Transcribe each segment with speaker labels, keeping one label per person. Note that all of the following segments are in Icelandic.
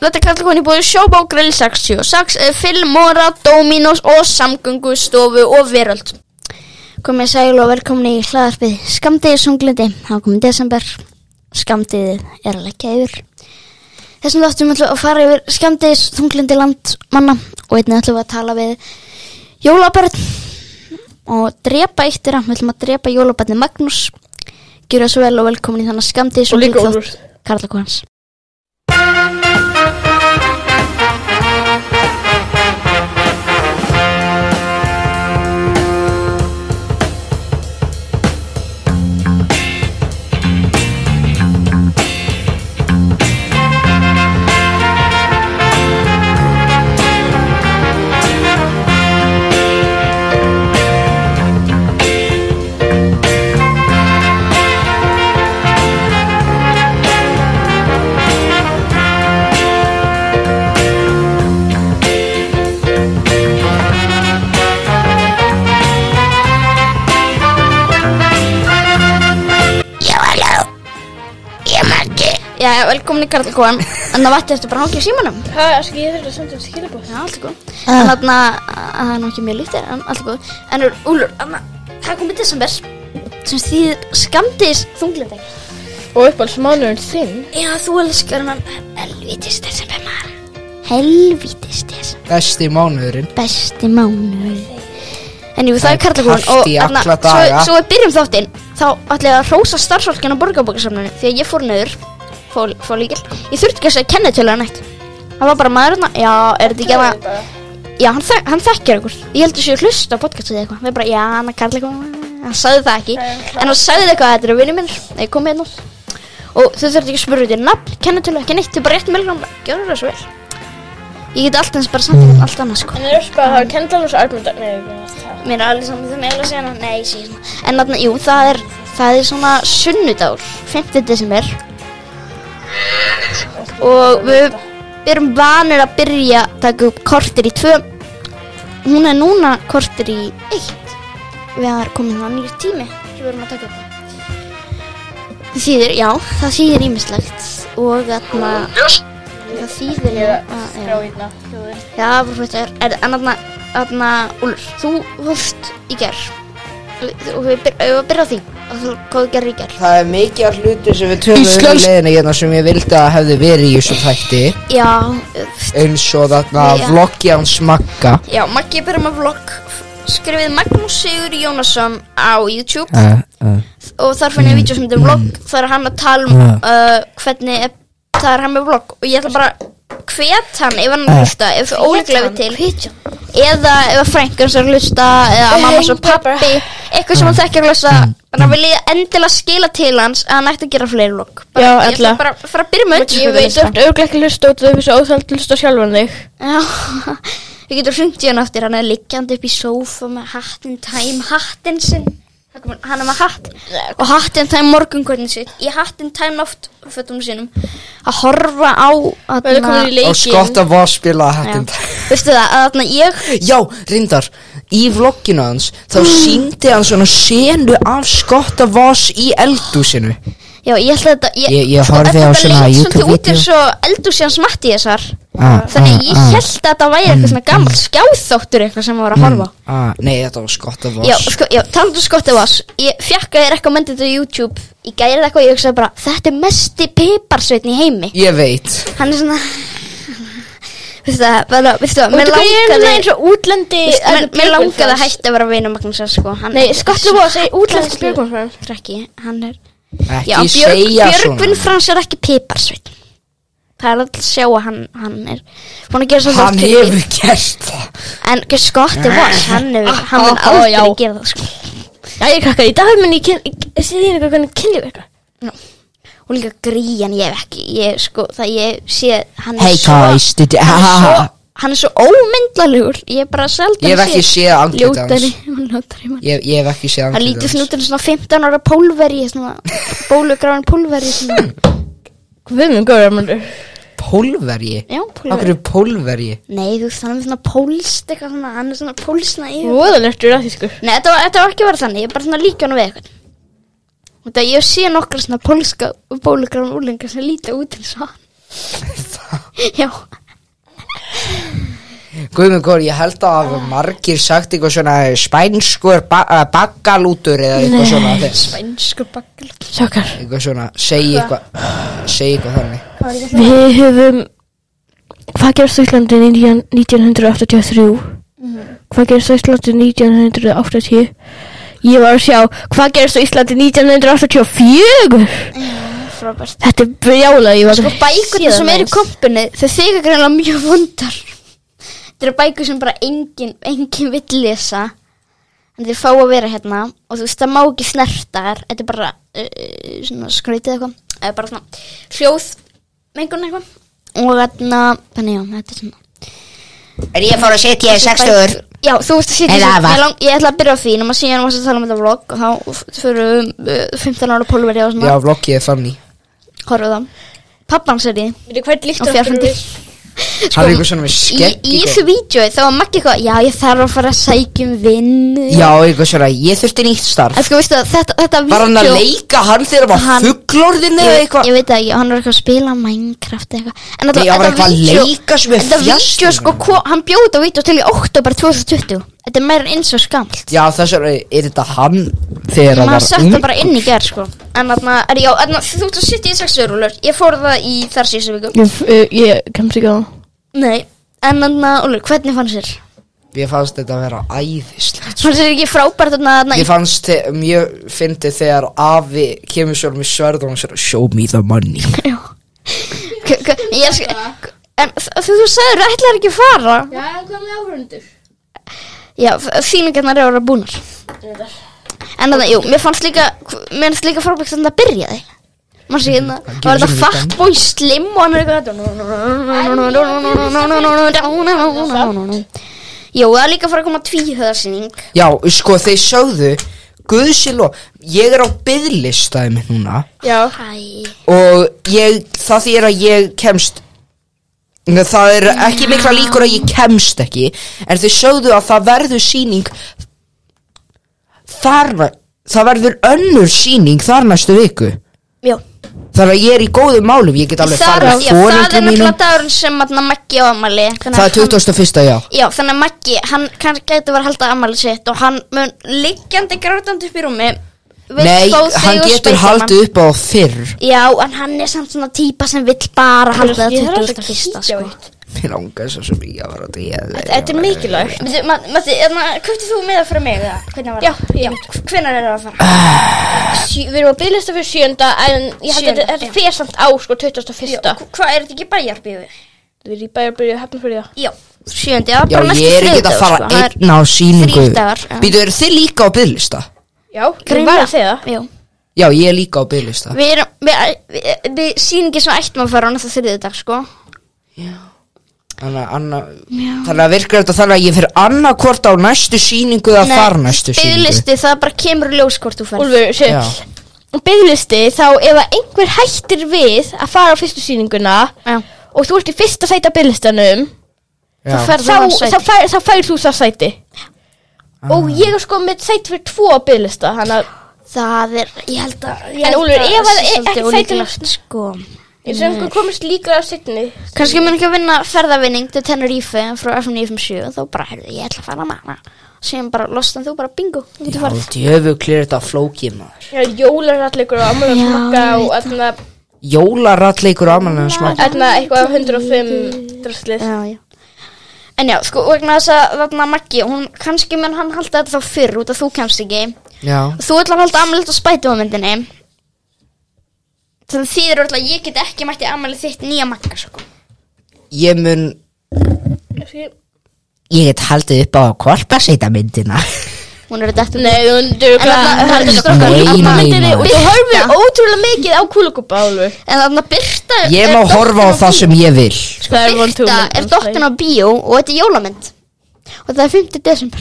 Speaker 1: Þetta kallar koni búið Sjóbá Grill 66, eh, Filmora, Dominos og Samgöngustofu og Veröld.
Speaker 2: Komið sæl og velkomin í hlaðarpið Skamdegið sunglindi, það er komið desember Skamdegið er að leggja yfir Þessum þáttum ætlum við að fara yfir skamdegis þunglindi landmanna og einnig ætlum við að tala við jólabörn og drepa eitt þeirra, við ætlum að drepa jólabörni Magnús Gjör það svo vel og velkomin í þannig skamdegis
Speaker 1: Og líka Úlfur.
Speaker 2: Karla Kóhans
Speaker 1: Já, halló, ég margi. Já, velkomin í Karla Kóan.
Speaker 2: En það vatti eftir bara hókja símanum
Speaker 3: Það er sko, ég þurfti að senda um skilabóð.
Speaker 2: Já, allt er góð En þarna, að það er nú ekki mjög lítið, en allt er góð En er Úlur, þarna, það er komið desember sem þýðir skamdegis þunglindi
Speaker 3: Og uppáhaldsmánuðurinn þinn.
Speaker 2: Já, þú elskar hann Helvítis desember maður Helvítis desember
Speaker 4: besti mánuðurinn
Speaker 2: Besti mánuður En jú, það
Speaker 4: Það
Speaker 2: er
Speaker 4: er
Speaker 2: karlakúan
Speaker 4: kalt í alla daga.
Speaker 2: svo, svo við byrjum þáttinn Þá ætla ég að rósa starfsfólkinn á borgarbókarsamlunni Því að ég fór niður Fór, fór líkil Ég þurfti ekki að segja kennitölu hann eitt Það var bara maður hérna Já, er þetta ekki að Já, hann, þek hann þekkir okkur Ég heldur sér hlusta á podcastið eða eitthvað Við bara, já, hann er karlæk Hann sagði það ekki
Speaker 3: Nei,
Speaker 2: En hann sagði eitthvað, þetta eru vinni minnir Þegar ég kom með nátt Og þau þurftu ekki að spyrja út í nafn Kennetölu, ekki neitt Þau bara rétt meðlum Gjörðu það svo vel Ég get allt eins bara samt um allt annað sko
Speaker 3: En er sko, það er kendalega svo armundar. Nei, ég veit það.
Speaker 2: Mér er alveg saman þau meðla að segja hana Nei, ég sé svona En þarna, jú, það er Það er svona sunnudagur 5. desember Og við erum vanir að byrja að taka upp kortir í tvö Hún er núna kortir í eitt Við erum komin að nýjur tími sem við erum að taka upp Það þýðir, já, það þýðir ímislegt Og þarna Það þýðir, já,
Speaker 3: Ég
Speaker 2: að- já.
Speaker 3: skrá hérna. ítna.
Speaker 2: Já, professor, er en aðna, aðna, Úlur, þú hófst í ger og við byr- eigum að byrja á því og þú hvað gerir í ger
Speaker 4: Það er mikið af hlutu sem við tölum um í
Speaker 1: Íslensk-
Speaker 4: leiðinu hérna sem ég vildi að hefði verið í þessu þætti
Speaker 2: Já,
Speaker 4: eins og þarna
Speaker 2: Já.
Speaker 4: vloggi hans Magga
Speaker 1: Já, Maggi er byrjum að vlogg. Skrifið Magnús Sigur Jónasson á YouTube
Speaker 4: uh, uh.
Speaker 1: og þar finn ég vídeo sem þetta er vlogg. Það er hann að tala um uh, hvernig er, það er hann með vlogg og ég ætla bara að hvet hann ef hann er að hlusta, ef þú óleglega við til eða ef að frængur sem hlusta eða að mamma sem pappi eitthvað sem hann þekkir að hlusta þannig að vil ég endilega skila til hans að hann ætti að gera fleiri vlogg bara,
Speaker 3: Já,
Speaker 1: ég ætla
Speaker 3: endilega.
Speaker 1: bara að fara að byrja með
Speaker 3: Ég veit
Speaker 1: undirskriftalista.
Speaker 3: öll auðvitað ekki hlusta út af þessu óþægt hlusta sjálfan þig.
Speaker 2: já Við getum hringt í hann aftur, hann er liggjandi upp í sófa með hattinn tæm, hattinn sinn Það kom- Hann er með hatt og hattinn tæm morgunkornin sitt Í hattinn tæm oft fötum sínum Að horfa á
Speaker 3: Við
Speaker 2: aðna,
Speaker 3: erum komin í
Speaker 4: og
Speaker 3: leikin.
Speaker 4: skotta var spilað hættin
Speaker 2: Veistu það, að aðna, ég
Speaker 4: Já, reyndar, í vlogginu hans þá
Speaker 2: Mm.
Speaker 4: síndi hann svona senu af skotta vars í eldúsinu
Speaker 2: Já, ég ætla þetta
Speaker 4: Ég- ég
Speaker 2: sko,
Speaker 4: horfði á
Speaker 2: þetta
Speaker 4: svona
Speaker 2: leit
Speaker 4: YouTube-vídeó.
Speaker 2: út eins og eldur síðan smatti þessar
Speaker 4: Ah,
Speaker 2: Þannig
Speaker 4: ah,
Speaker 2: ég
Speaker 4: ah. mm.
Speaker 2: held að þetta væri eitthvað svona gammal skjáþóttur eitthvað sem maður var að horfa á
Speaker 4: ah, Nei, þetta var skotta
Speaker 2: Já,
Speaker 4: vars
Speaker 2: sko, já, talandu skottið var Ég fjakk að ég rekomendið þetta á YouTube Ég gæri þetta eitthvað og ég hugsaði bara Þetta er mesti piparsveitn í heimi
Speaker 4: Ég veit
Speaker 2: Hann er svona Veistu það, bara, veistu það Mér
Speaker 3: Veitu hvað ég er núna
Speaker 2: langaði
Speaker 3: eins og útlendi...
Speaker 2: veistu, mér- Mér langaði að hætta að vera vinur Magnúsar sko Hann
Speaker 3: Nei,
Speaker 2: er-
Speaker 3: skottu bóð að segja útlendi
Speaker 2: Hræðslu-
Speaker 3: spjökonsfæðum.
Speaker 2: Krakki, hann er
Speaker 4: Ekki
Speaker 2: Já, Björg,
Speaker 4: segja
Speaker 2: Björgvin
Speaker 4: svona
Speaker 2: Frans er ekki piparsveit Það er alltaf að sjá að hann, hann er búin að gera svolítið
Speaker 4: Hann
Speaker 2: oft fyrir
Speaker 4: hefur gert það
Speaker 2: mig. En ekki skotti voss, hann, hefur- hann mun
Speaker 3: Ah, ah,
Speaker 2: aldrei
Speaker 3: já.
Speaker 2: gera það sko.
Speaker 3: Já, ég krakkar, í dag mun ég kyn- ég- ég sé þín eitthvað hvernig kynlíf eitthvað.
Speaker 2: Og líka gríjan ég hef ekki ég, sko, Það ég sé hann er
Speaker 4: Hey
Speaker 2: svo,
Speaker 4: guys, did you-
Speaker 2: hann, er svo, hann er svo ómyndlalugur Ég er bara seldan
Speaker 4: Ég hef ekki séð andlitið hans.
Speaker 2: hans
Speaker 4: Ég, ég hef ekki séð
Speaker 2: Það lítið
Speaker 4: andlitið hans.
Speaker 2: svona út en svona 15 ára pólveri svona Bólugráin pólveri svona.
Speaker 3: Við minn góður, Armandur.
Speaker 4: Pólverji?
Speaker 2: Já,
Speaker 4: Akkur
Speaker 2: pólveri
Speaker 4: er pólverji?
Speaker 2: Nei, þú veist, hann er með svona pólst eitthvað svona, hann er svona pólsna yfir
Speaker 3: Voðalegt er að því, sko.
Speaker 2: Nei, þetta var, þetta var ekki verið þannig, ég er bara svona líka hann við eitthvað. Þetta ég sé nokkra svona pólska bólugrán úlingar sem líta út eins og hann.
Speaker 5: Já,
Speaker 4: Guðmund Góri, ég held að hafa margir sagt eitthvað svona spænskur ba eh, baggalútur eða eitthvað svona þeir-
Speaker 3: Spænsku bakkal
Speaker 5: sjókar
Speaker 4: eitthvað svona, segi eitthvað segi eitthvað þannig
Speaker 3: Við höfum Hvað gerst á Íslandi 19- 1983? Hvað gerst á Íslandi 1980? Ég var að sjá Hvað gerst á Íslandi 1984?
Speaker 2: frábært
Speaker 3: Þetta er brjála Ég var
Speaker 2: Sko bækurna
Speaker 3: Síðan
Speaker 2: sem eru í
Speaker 3: eins.
Speaker 2: kompunni Þau þykir greinlega mjög vondar Þetta eru bækur sem bara engin, engin vill lesa En þau fá að vera hérna Og þú veist, það má ekki snerta þær Þetta er bara uh, svona skrítið eitthvað Eða bara svona hljóð Mengun eitthvað Og þarna, þannig já, þetta er svona
Speaker 4: En ég fór að setja í sextugur
Speaker 2: Já, þú veist að sitja
Speaker 4: Eða
Speaker 2: sem,
Speaker 4: Ava.
Speaker 2: ég, lang, ég ætla að byrja á því Núma síðan varst að tala um þetta vlog Og þá f- fyrir um uh, 15 ára pólveri og
Speaker 4: Já,
Speaker 2: svona
Speaker 4: vloggið er þannig
Speaker 2: Horfðu það Pappans er í
Speaker 3: Veitu hvað er líkt
Speaker 2: Og fjarfundi
Speaker 4: Hann er eitthvað svona með
Speaker 2: Sko, Í,
Speaker 4: skegg
Speaker 2: í
Speaker 4: eitthvað.
Speaker 2: þessu vídeo þá var Maggi eitthvað Já, ég þarf að fara að sækjum vinn
Speaker 4: Já, eitthvað svona, ég þurfti nýtt starf
Speaker 2: En sko, veistu það, þetta, þetta
Speaker 4: Var hann að
Speaker 2: vídeó-
Speaker 4: leika hann þegar hann var
Speaker 2: Hann-
Speaker 4: fugglorðin eða
Speaker 2: Ég,
Speaker 4: eitthvað
Speaker 2: ég veit ekki, hann var eitthvað að spila Minecraft eða eitthvað En
Speaker 4: Nei, hann var eitthvað að
Speaker 2: vídeó-
Speaker 4: leika sem er
Speaker 2: Þetta vídeo,
Speaker 4: fjastur.
Speaker 2: sko, hvo, hann bjóð þetta vídeo til í oktober 2020 Þetta er meira eins og skamt
Speaker 4: Já, þess vegna er þetta hann þegar hann
Speaker 2: Maður
Speaker 4: var
Speaker 2: sett
Speaker 4: ung
Speaker 2: það bara inn í gerð, sko En þarna, er já, þarna, þú ert að sitja í sexu rúlur Ég fór það í þar síðustu viku
Speaker 3: Ég, eh, ég kemst ekki á það.
Speaker 2: Nei, en þarna, Úlur, hvernig fannst þér?
Speaker 4: Ég fannst þetta að vera æðislega
Speaker 2: Fannst þér ekki frábært þarna, þarna
Speaker 4: Ég fannst þe- mjög fyndið þegar afi kemur svo með svörð og hann sér Show me the money
Speaker 2: K- k- ég elska En þ- þú, þú sagður, ætlar ekki að fara
Speaker 6: Já, hvað með áhörundur?
Speaker 2: Já, þýningarnar eru að vera búnar En þannig, jú, mér fannst líka Mér fannst líka frábægt þannig að byrjaði Mann sé
Speaker 4: Mm,
Speaker 2: hérna, það var þetta fatboy slim Og hann er eitthvað Jó, það er líka að fara að koma tvíhöðarsýning
Speaker 4: Já, sko þeir sögðu Guðsiló, ég er á byðlistaði mitt núna
Speaker 2: Já
Speaker 5: Æ,
Speaker 4: Og ég, það þýr að ég kemst Nei, Það er ekki mikla líkur að ég kemst ekki En þau sögðu að það verður sýning Þar var- Það verður önnur sýning þar næstu viku
Speaker 2: Já,
Speaker 4: Þar að ég er í góðum málum Ég get alveg
Speaker 2: það,
Speaker 4: farið með
Speaker 2: já, það er
Speaker 4: fóreldrum
Speaker 2: nefnilega
Speaker 4: mínum
Speaker 2: dagurinn sem þarna Maggi á amali
Speaker 4: Það er 21. já
Speaker 2: Já, þannig að Maggi, hann kannski gæti verið að halda ammali sitt og hann mun liggjandi grátandi upp í rúmi vill
Speaker 4: Nei,
Speaker 2: fá þig
Speaker 4: hann
Speaker 2: og
Speaker 4: getur
Speaker 2: Spiderman.
Speaker 4: haldið upp á fyrr
Speaker 2: Já, en hann er samt svona típa sem vill bara halda það
Speaker 3: Ég þarf
Speaker 2: 20.
Speaker 3: alltaf að
Speaker 2: fyrsta,
Speaker 3: kíkja á
Speaker 2: sko
Speaker 3: eitt.
Speaker 4: Mér langar svo sem ég að vera að deyja
Speaker 3: Þetta er mikilvægt
Speaker 2: Veitu, Ma- Matti, hvernig þú með það fyrir mig eða? Hvernig var
Speaker 3: Já,
Speaker 2: það?
Speaker 3: ég
Speaker 2: Hvernig er það að fara?
Speaker 3: Sjö- Við erum á bygglista fyrir sjönda en ég held að
Speaker 2: Sjönda,
Speaker 3: þetta- þetta fer samt á sko 21.
Speaker 2: Hva- Hvað, er þetta ekki bæjarbíðu?
Speaker 3: Við erum í bæja að byrja að hefna fyrir það.
Speaker 2: Já, sjöndi, það er
Speaker 4: Já,
Speaker 2: bara næstu
Speaker 4: ég er ekki að
Speaker 2: þriðjudagur,
Speaker 4: fara
Speaker 2: sko. Það er
Speaker 4: einn á sýningu
Speaker 2: þrír dagar, já.
Speaker 4: Býtu, eru þið líka á byðlista?
Speaker 3: Já, ég var
Speaker 2: Greinlega.
Speaker 3: að segja það.
Speaker 2: Já.
Speaker 4: Já, ég er líka á byðlista
Speaker 2: Við erum, við, við, við sýningi sem ættum að fara á næsta þriðjudag, sko
Speaker 4: Þannig að anna, þannig að virkar þetta þannig að ég fyrir annarkvort á næstu sýningu eða þar næstu sýningu
Speaker 2: biðlisti, það bara kemur í ljós hvort þú ferð
Speaker 3: Úlfur, sé,
Speaker 4: Já.
Speaker 3: bygglisti þá ef að einhver hættir við að fara á fyrstu sýninguna
Speaker 2: Já.
Speaker 3: og þú ert í fyrsta sæti á bygglistanum
Speaker 4: Já.
Speaker 2: ferð- Færðu
Speaker 3: þá,
Speaker 2: hann sæti.
Speaker 3: þá, fær, þá færðu þú það sæti. Og ég er sko með sæti fyrir tvo á bygglista, þannig að
Speaker 2: Það er, ég held að ég
Speaker 3: En
Speaker 2: held
Speaker 3: Úlfur,
Speaker 2: að
Speaker 3: ef
Speaker 2: það
Speaker 3: að-
Speaker 2: sé
Speaker 3: e-
Speaker 2: svolítið
Speaker 3: ekki
Speaker 2: ólíklegt, sko
Speaker 3: ég sem einhver komist líklega á setni.
Speaker 2: Kanski mun ekki að vinna ferðavinning til Tenerife frá F957 og þá bara, herðu, ég ætla að fara að manna og síðan bara losna þú bara bingo þú getur farið.
Speaker 4: Djöfuglir þetta flókið maður
Speaker 3: Já, jólarallegur og amalarsmakka
Speaker 2: Já, ég
Speaker 3: og þarna-
Speaker 4: Jólarallleikur ámælans maður
Speaker 3: þarna eitthvað á 105 drastlið.
Speaker 2: Já, já En já, sko, vegna þess að þarna Maggi, hún, kannski mun hann halda þetta þá fyrr út að þú kemst ekki
Speaker 4: Já,
Speaker 2: Þú ætla að halda amalið á spætumamyndinni Þannig þýðir öll að ég get ekki mætti amalið þitt nýja Magga, sko
Speaker 4: ég mun Ég get haldið upp á kvarpaseita myndina
Speaker 2: Hún er þetta
Speaker 3: Nei, þú hundur
Speaker 2: En þarna- þarna-
Speaker 4: Nei,
Speaker 3: Þú
Speaker 4: nei, nei.
Speaker 3: horfir ótrúlega mikið á kúlugúpa álfur
Speaker 2: En þarna Birta er
Speaker 4: Ég má
Speaker 2: dottin
Speaker 4: horfa á það
Speaker 2: bíó.
Speaker 4: sem ég vil
Speaker 3: Það er von
Speaker 2: Birta er dottin á bíó og þetta er jólamynd Og það er 5. desember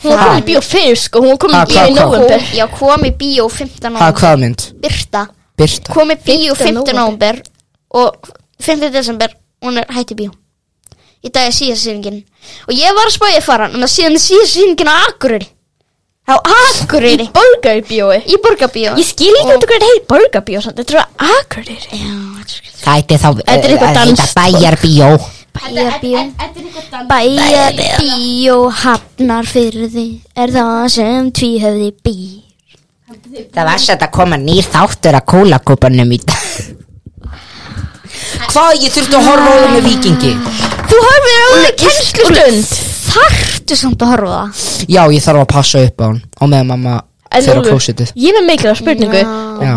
Speaker 3: Hún var komin í bíó fyrir sko, hún var komin
Speaker 4: Ha,
Speaker 3: í bíó í
Speaker 4: hvað, hvað?
Speaker 3: november
Speaker 2: Já, kom í bíó 15.
Speaker 4: Ha,
Speaker 2: november
Speaker 4: hvað mynd?
Speaker 2: Birta
Speaker 4: Birta
Speaker 2: kom í bíó 15.
Speaker 3: nóvember.
Speaker 2: november Og 5. desember Hún er hætti bíó Í dag er síðast sýningin Og ég var að spája að fara En það síðan er síðast sýningin á Akureyri
Speaker 5: Á Akureyri
Speaker 3: Í borgarbjói
Speaker 5: Í borgarbíó
Speaker 3: Ég skil ekki að hvað heit borgarbjó samt Þetta er á Akureyri
Speaker 4: Þetta er þá
Speaker 3: Þetta
Speaker 4: eh,
Speaker 3: er eitthvað
Speaker 4: að heita
Speaker 3: danskt
Speaker 4: bæjarbíó
Speaker 5: Bæjarbíó
Speaker 6: Þetta er eitthvað dans
Speaker 5: Bæjarbíó hafnar fyrir því Er það sem tvíhöfði bí
Speaker 4: Það var sætt að koma nýr þáttur að kólakúpanum í dag Hvað ég þurfti að horfa á það með vikingi
Speaker 5: Þú horfir á það
Speaker 3: Kennslustund
Speaker 5: Þarftu samt að horfa á það
Speaker 4: Já, ég þarf að passa upp á hann Og með mamma
Speaker 3: En
Speaker 4: fyrir
Speaker 3: Úlfur,
Speaker 4: klósitið
Speaker 3: Ég er með mikilvæg spurningu
Speaker 4: Já,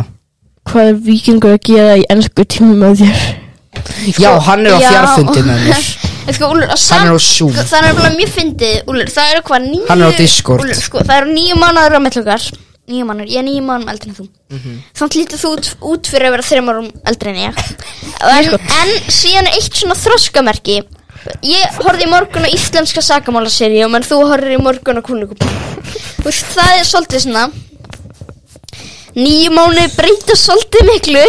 Speaker 3: Hvað er vikingur að gera í ennsku tímum að þér?
Speaker 4: já hann er á
Speaker 2: Sko, já.
Speaker 4: fjárfundi með mér
Speaker 2: En sko, Úlur,
Speaker 4: Hann er á Zoom.
Speaker 2: sko, Það er alveg mjög fyndið, Úlur Það eru hvað níu
Speaker 4: Hann er á Discord.
Speaker 2: Úlfur, sko, það eru níu mánuður á mellokar Níu mánuður, ég er níu mánuðum eldri en þú
Speaker 4: Mhm.
Speaker 2: Samt lítið þú út, út fyrir að vera þreim árum eldri en ég en,
Speaker 4: sko-
Speaker 2: en síðan er eitt svona þroskamerki Ég horfði í morgun á íslenska sakamálaseríu menn þú horfði í morgun á kúnlíkum Þú veist, það er svolítið svona Níu mánuði breyta svolítið miklu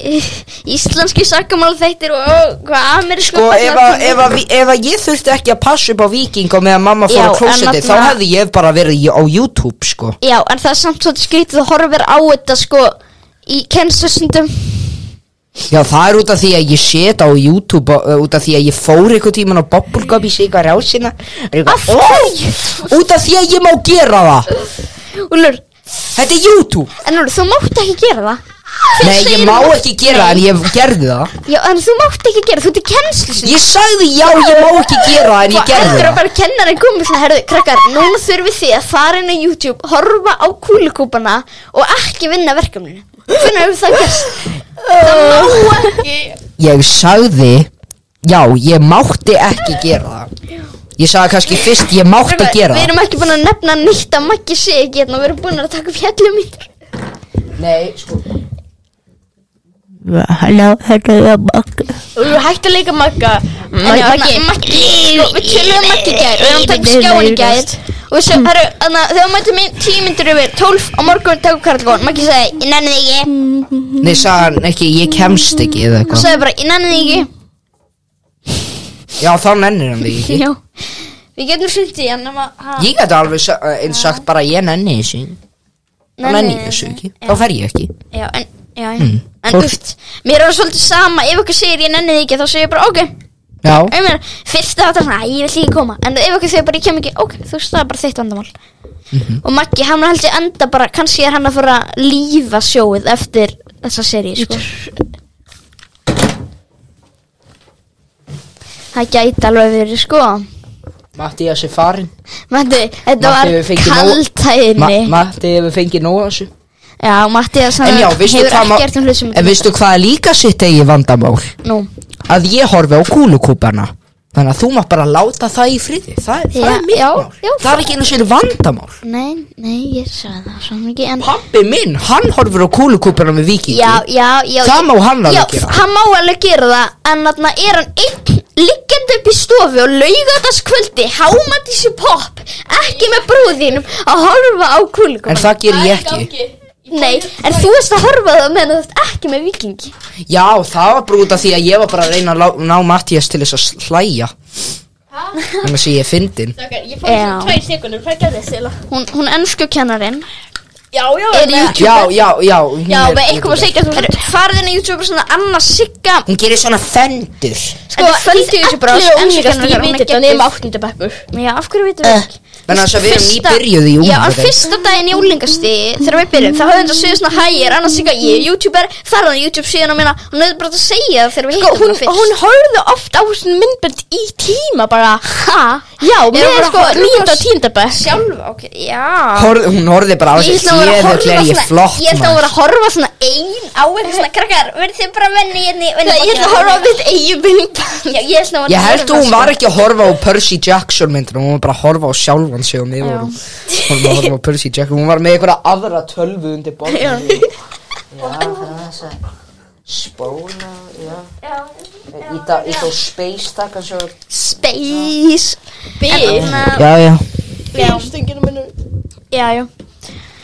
Speaker 2: Íslenski sakamála þættir og hvað amerísku
Speaker 4: Sko, ef að,
Speaker 2: barnaefni-
Speaker 4: ef, að, vi- ef að ég þurfti ekki að passa upp á viking Og með að mamma fór
Speaker 2: Já,
Speaker 4: á
Speaker 2: en
Speaker 4: klósitið Þá
Speaker 2: náttúrulega-
Speaker 4: hefði ég bara verið í- á YouTube, sko
Speaker 2: Já, en það er samt svolítið skrítið þú horfir á þetta sko í kennslusundum
Speaker 4: Já, það er út af því að ég set á YouTube uh, Út af því að ég fór einhvern tíman á Bubblegum Í sig eitthvað rásina Af hverju? Út af því að ég má gera það
Speaker 2: Úlur,
Speaker 4: Þetta er YouTube
Speaker 2: en Úlur, þú mátt ekki gera það Hver
Speaker 4: Nei, ég
Speaker 2: segir
Speaker 4: má
Speaker 2: þú-
Speaker 4: ekki gera það En ég gerði það
Speaker 2: Já, en þú mátt ekki gera, þú ert í kennslusundum
Speaker 4: Ég sagði já, ég má ekki gera það En ég gerði
Speaker 2: Eftir Sko, að
Speaker 4: það
Speaker 2: bara kennarinn komið svona, herðu, krakkar, núna þurfið þið að fara inn á YouTube, horfa á kúlikúpana og ekki vinna verkefninu. Hvernig hefur það gerst?
Speaker 4: Ég sagði Já, ég mátti ekki gera það Ég sagði kannski fyrst Ég mátti
Speaker 2: Krakkar,
Speaker 4: gera
Speaker 2: Við
Speaker 4: það
Speaker 2: erum ekki búin að nefna nýtt að Maggi sé ekki hérna, við erum búin að taka fjallum í
Speaker 4: Nei, sko
Speaker 3: Halló, þetta er Magga
Speaker 2: Úlur, hægt að leika Magga. En já,
Speaker 3: Maggi
Speaker 2: hérna, Maggi, sko, við tölum um Maggi í gær, við erum að taka skjáin í gær og við sem, herru, þannig að þegar mættum minn tíu myndir yfir, tólf á morgun takum karlgón, Maggi sagði, ég nenni þig ekki
Speaker 4: Nei, sagði hann ekki, ég kemst ekki eða
Speaker 2: og
Speaker 4: eitthvað
Speaker 2: sagði bara, ég nenni þig ekki
Speaker 4: Já, þá nennir hann þig ekki
Speaker 2: Já, við getum fundið í hann nema að
Speaker 4: Ég gæti alveg sa- eh, eins sagt bara ég nenni þessu Þá nenni ég þessu ekki Þá fer ég ekki
Speaker 2: Já, en, já, já,
Speaker 4: Mm,
Speaker 2: en
Speaker 4: fólk-
Speaker 2: uft, mér er það svolítið sama, ef okkur segir ég nenni þig ekki, þá segir ég bara, ok,
Speaker 4: Já,
Speaker 2: ég meina, fyrst það er svona, "Æ, ég vill ekki koma, en ef okkur segir bara, ég kem ekki, ok, þú veist, það er bara þitt vandamál.
Speaker 4: Mhm.
Speaker 2: Og Maggi, hann held ég enda bara, kannski er hann að fara að lífa sjóið eftir þessa seri, sko. Það gæti alveg verið, sko.
Speaker 4: Mattias er farin
Speaker 2: Matti, þetta var
Speaker 4: Matti, við fengið nóg- Ma-
Speaker 2: kaltæðinni.
Speaker 4: Matti hefur fengið nóg af þessu
Speaker 2: já, Matti, það
Speaker 4: En já, veistu
Speaker 2: hefur
Speaker 4: hvað
Speaker 2: ekki
Speaker 4: má-
Speaker 2: gert um hlut sem
Speaker 4: En veistu hvað er líka sitt eigi vandamál?
Speaker 2: Nú,
Speaker 4: Að ég horfi á kúlukúpana Þannig að þú mátt bara láta það í friði Það, það
Speaker 2: Já,
Speaker 4: er mitt
Speaker 2: já,
Speaker 4: mál
Speaker 2: já.
Speaker 4: Það er ekki einu sinni vandamál
Speaker 5: Nei, nei, ég sagði það svo mikið En
Speaker 4: Pappi minn, hann horfir á kúlukúpana með vikingi
Speaker 2: já, já, já
Speaker 4: Það má hann alveg
Speaker 2: já,
Speaker 4: gera.
Speaker 2: hann má alveg gera það En þarna er hann einn liggjandi upp í stofu og laugatast kvöldi hámat í sér popp ekki með brúðinum að horfa á kúlikum
Speaker 4: En það ger ég ekki
Speaker 2: Nei, en þú veist að horfa á það meðan þú ert ekki með vikingi
Speaker 4: Já, það var bara út af því að ég var bara að reyna að lá- ná Mattias til þess að hlæja Þannig að sé ég er fyndin
Speaker 6: Ég fór
Speaker 2: Já.
Speaker 6: svona tvær sekundur, hvað gerði þessi eiginlega?
Speaker 2: Hún, hún ennsku kennarin
Speaker 6: Já, já,
Speaker 2: Er
Speaker 3: eh,
Speaker 6: já
Speaker 2: YouTube
Speaker 4: Já, já, já hún
Speaker 2: Já,
Speaker 4: er
Speaker 2: með eitthvað að
Speaker 4: youtuber.
Speaker 2: segja þú Farðin á YouTube og svona Anna Sigga
Speaker 4: Hún gerir svona fendur
Speaker 2: Sko, földu þessu bara Ensku
Speaker 6: Allir ólíkast,
Speaker 2: kennarin,
Speaker 6: ég
Speaker 2: hún
Speaker 6: veit
Speaker 2: er
Speaker 6: þetta
Speaker 2: geggjuð.
Speaker 6: nema áttundabekkur
Speaker 2: Já, af hverju veitum við ekki?
Speaker 4: Þannig að þess að við erum
Speaker 2: Fyrsta-
Speaker 4: nýbyrjuð í
Speaker 2: Já, en
Speaker 4: unglingadeild.
Speaker 2: fyrsta daginn í úlingasti Þegar við byrjum, þá höfum við að segja svona hægir Annars ekki að ég er youtuber, ferðan á YouTube síðan og minna Hún hefði bara að segja það þegar við hittum
Speaker 3: Hún,
Speaker 2: hana fyrst
Speaker 3: hún horfði oft á svona myndbönd í tíma bara
Speaker 2: ha?
Speaker 3: Já,
Speaker 2: Við erum
Speaker 3: með
Speaker 2: bara
Speaker 3: sko
Speaker 2: að horfa á
Speaker 3: nýjönda og tíundabæk
Speaker 2: Sjálf, ok, já
Speaker 4: Horð, hún horfði bara á
Speaker 2: Ég
Speaker 4: þess
Speaker 2: ætla að vera að horfa
Speaker 4: djöðull er ég
Speaker 2: svona
Speaker 4: flott
Speaker 2: Ég ætla að
Speaker 4: maður.
Speaker 2: vera að horfa svona ein á eitthvað svona krakkar Verði þið bara venni hérna í- venni
Speaker 6: Nei, ég ætla að
Speaker 2: bakinu.
Speaker 6: horfa á mitt eigin mynd
Speaker 2: Já, ég ætla að vera
Speaker 4: Ég
Speaker 2: að
Speaker 4: held
Speaker 2: horfa
Speaker 4: að hún
Speaker 2: svona.
Speaker 4: var ekki að horfa á Percy Jackson myndir Hún var bara að horfa á sjálfan sig og mig vorum Hún var að horfa á Percy Jackson Hún var með einhverja aðra tölvu undir borðinu Já, þess að Spóna, já Íta, íta á space takk hans og
Speaker 2: Space hérna.
Speaker 6: Bíl
Speaker 4: Já, já
Speaker 6: Stöngina minnur
Speaker 2: Já, já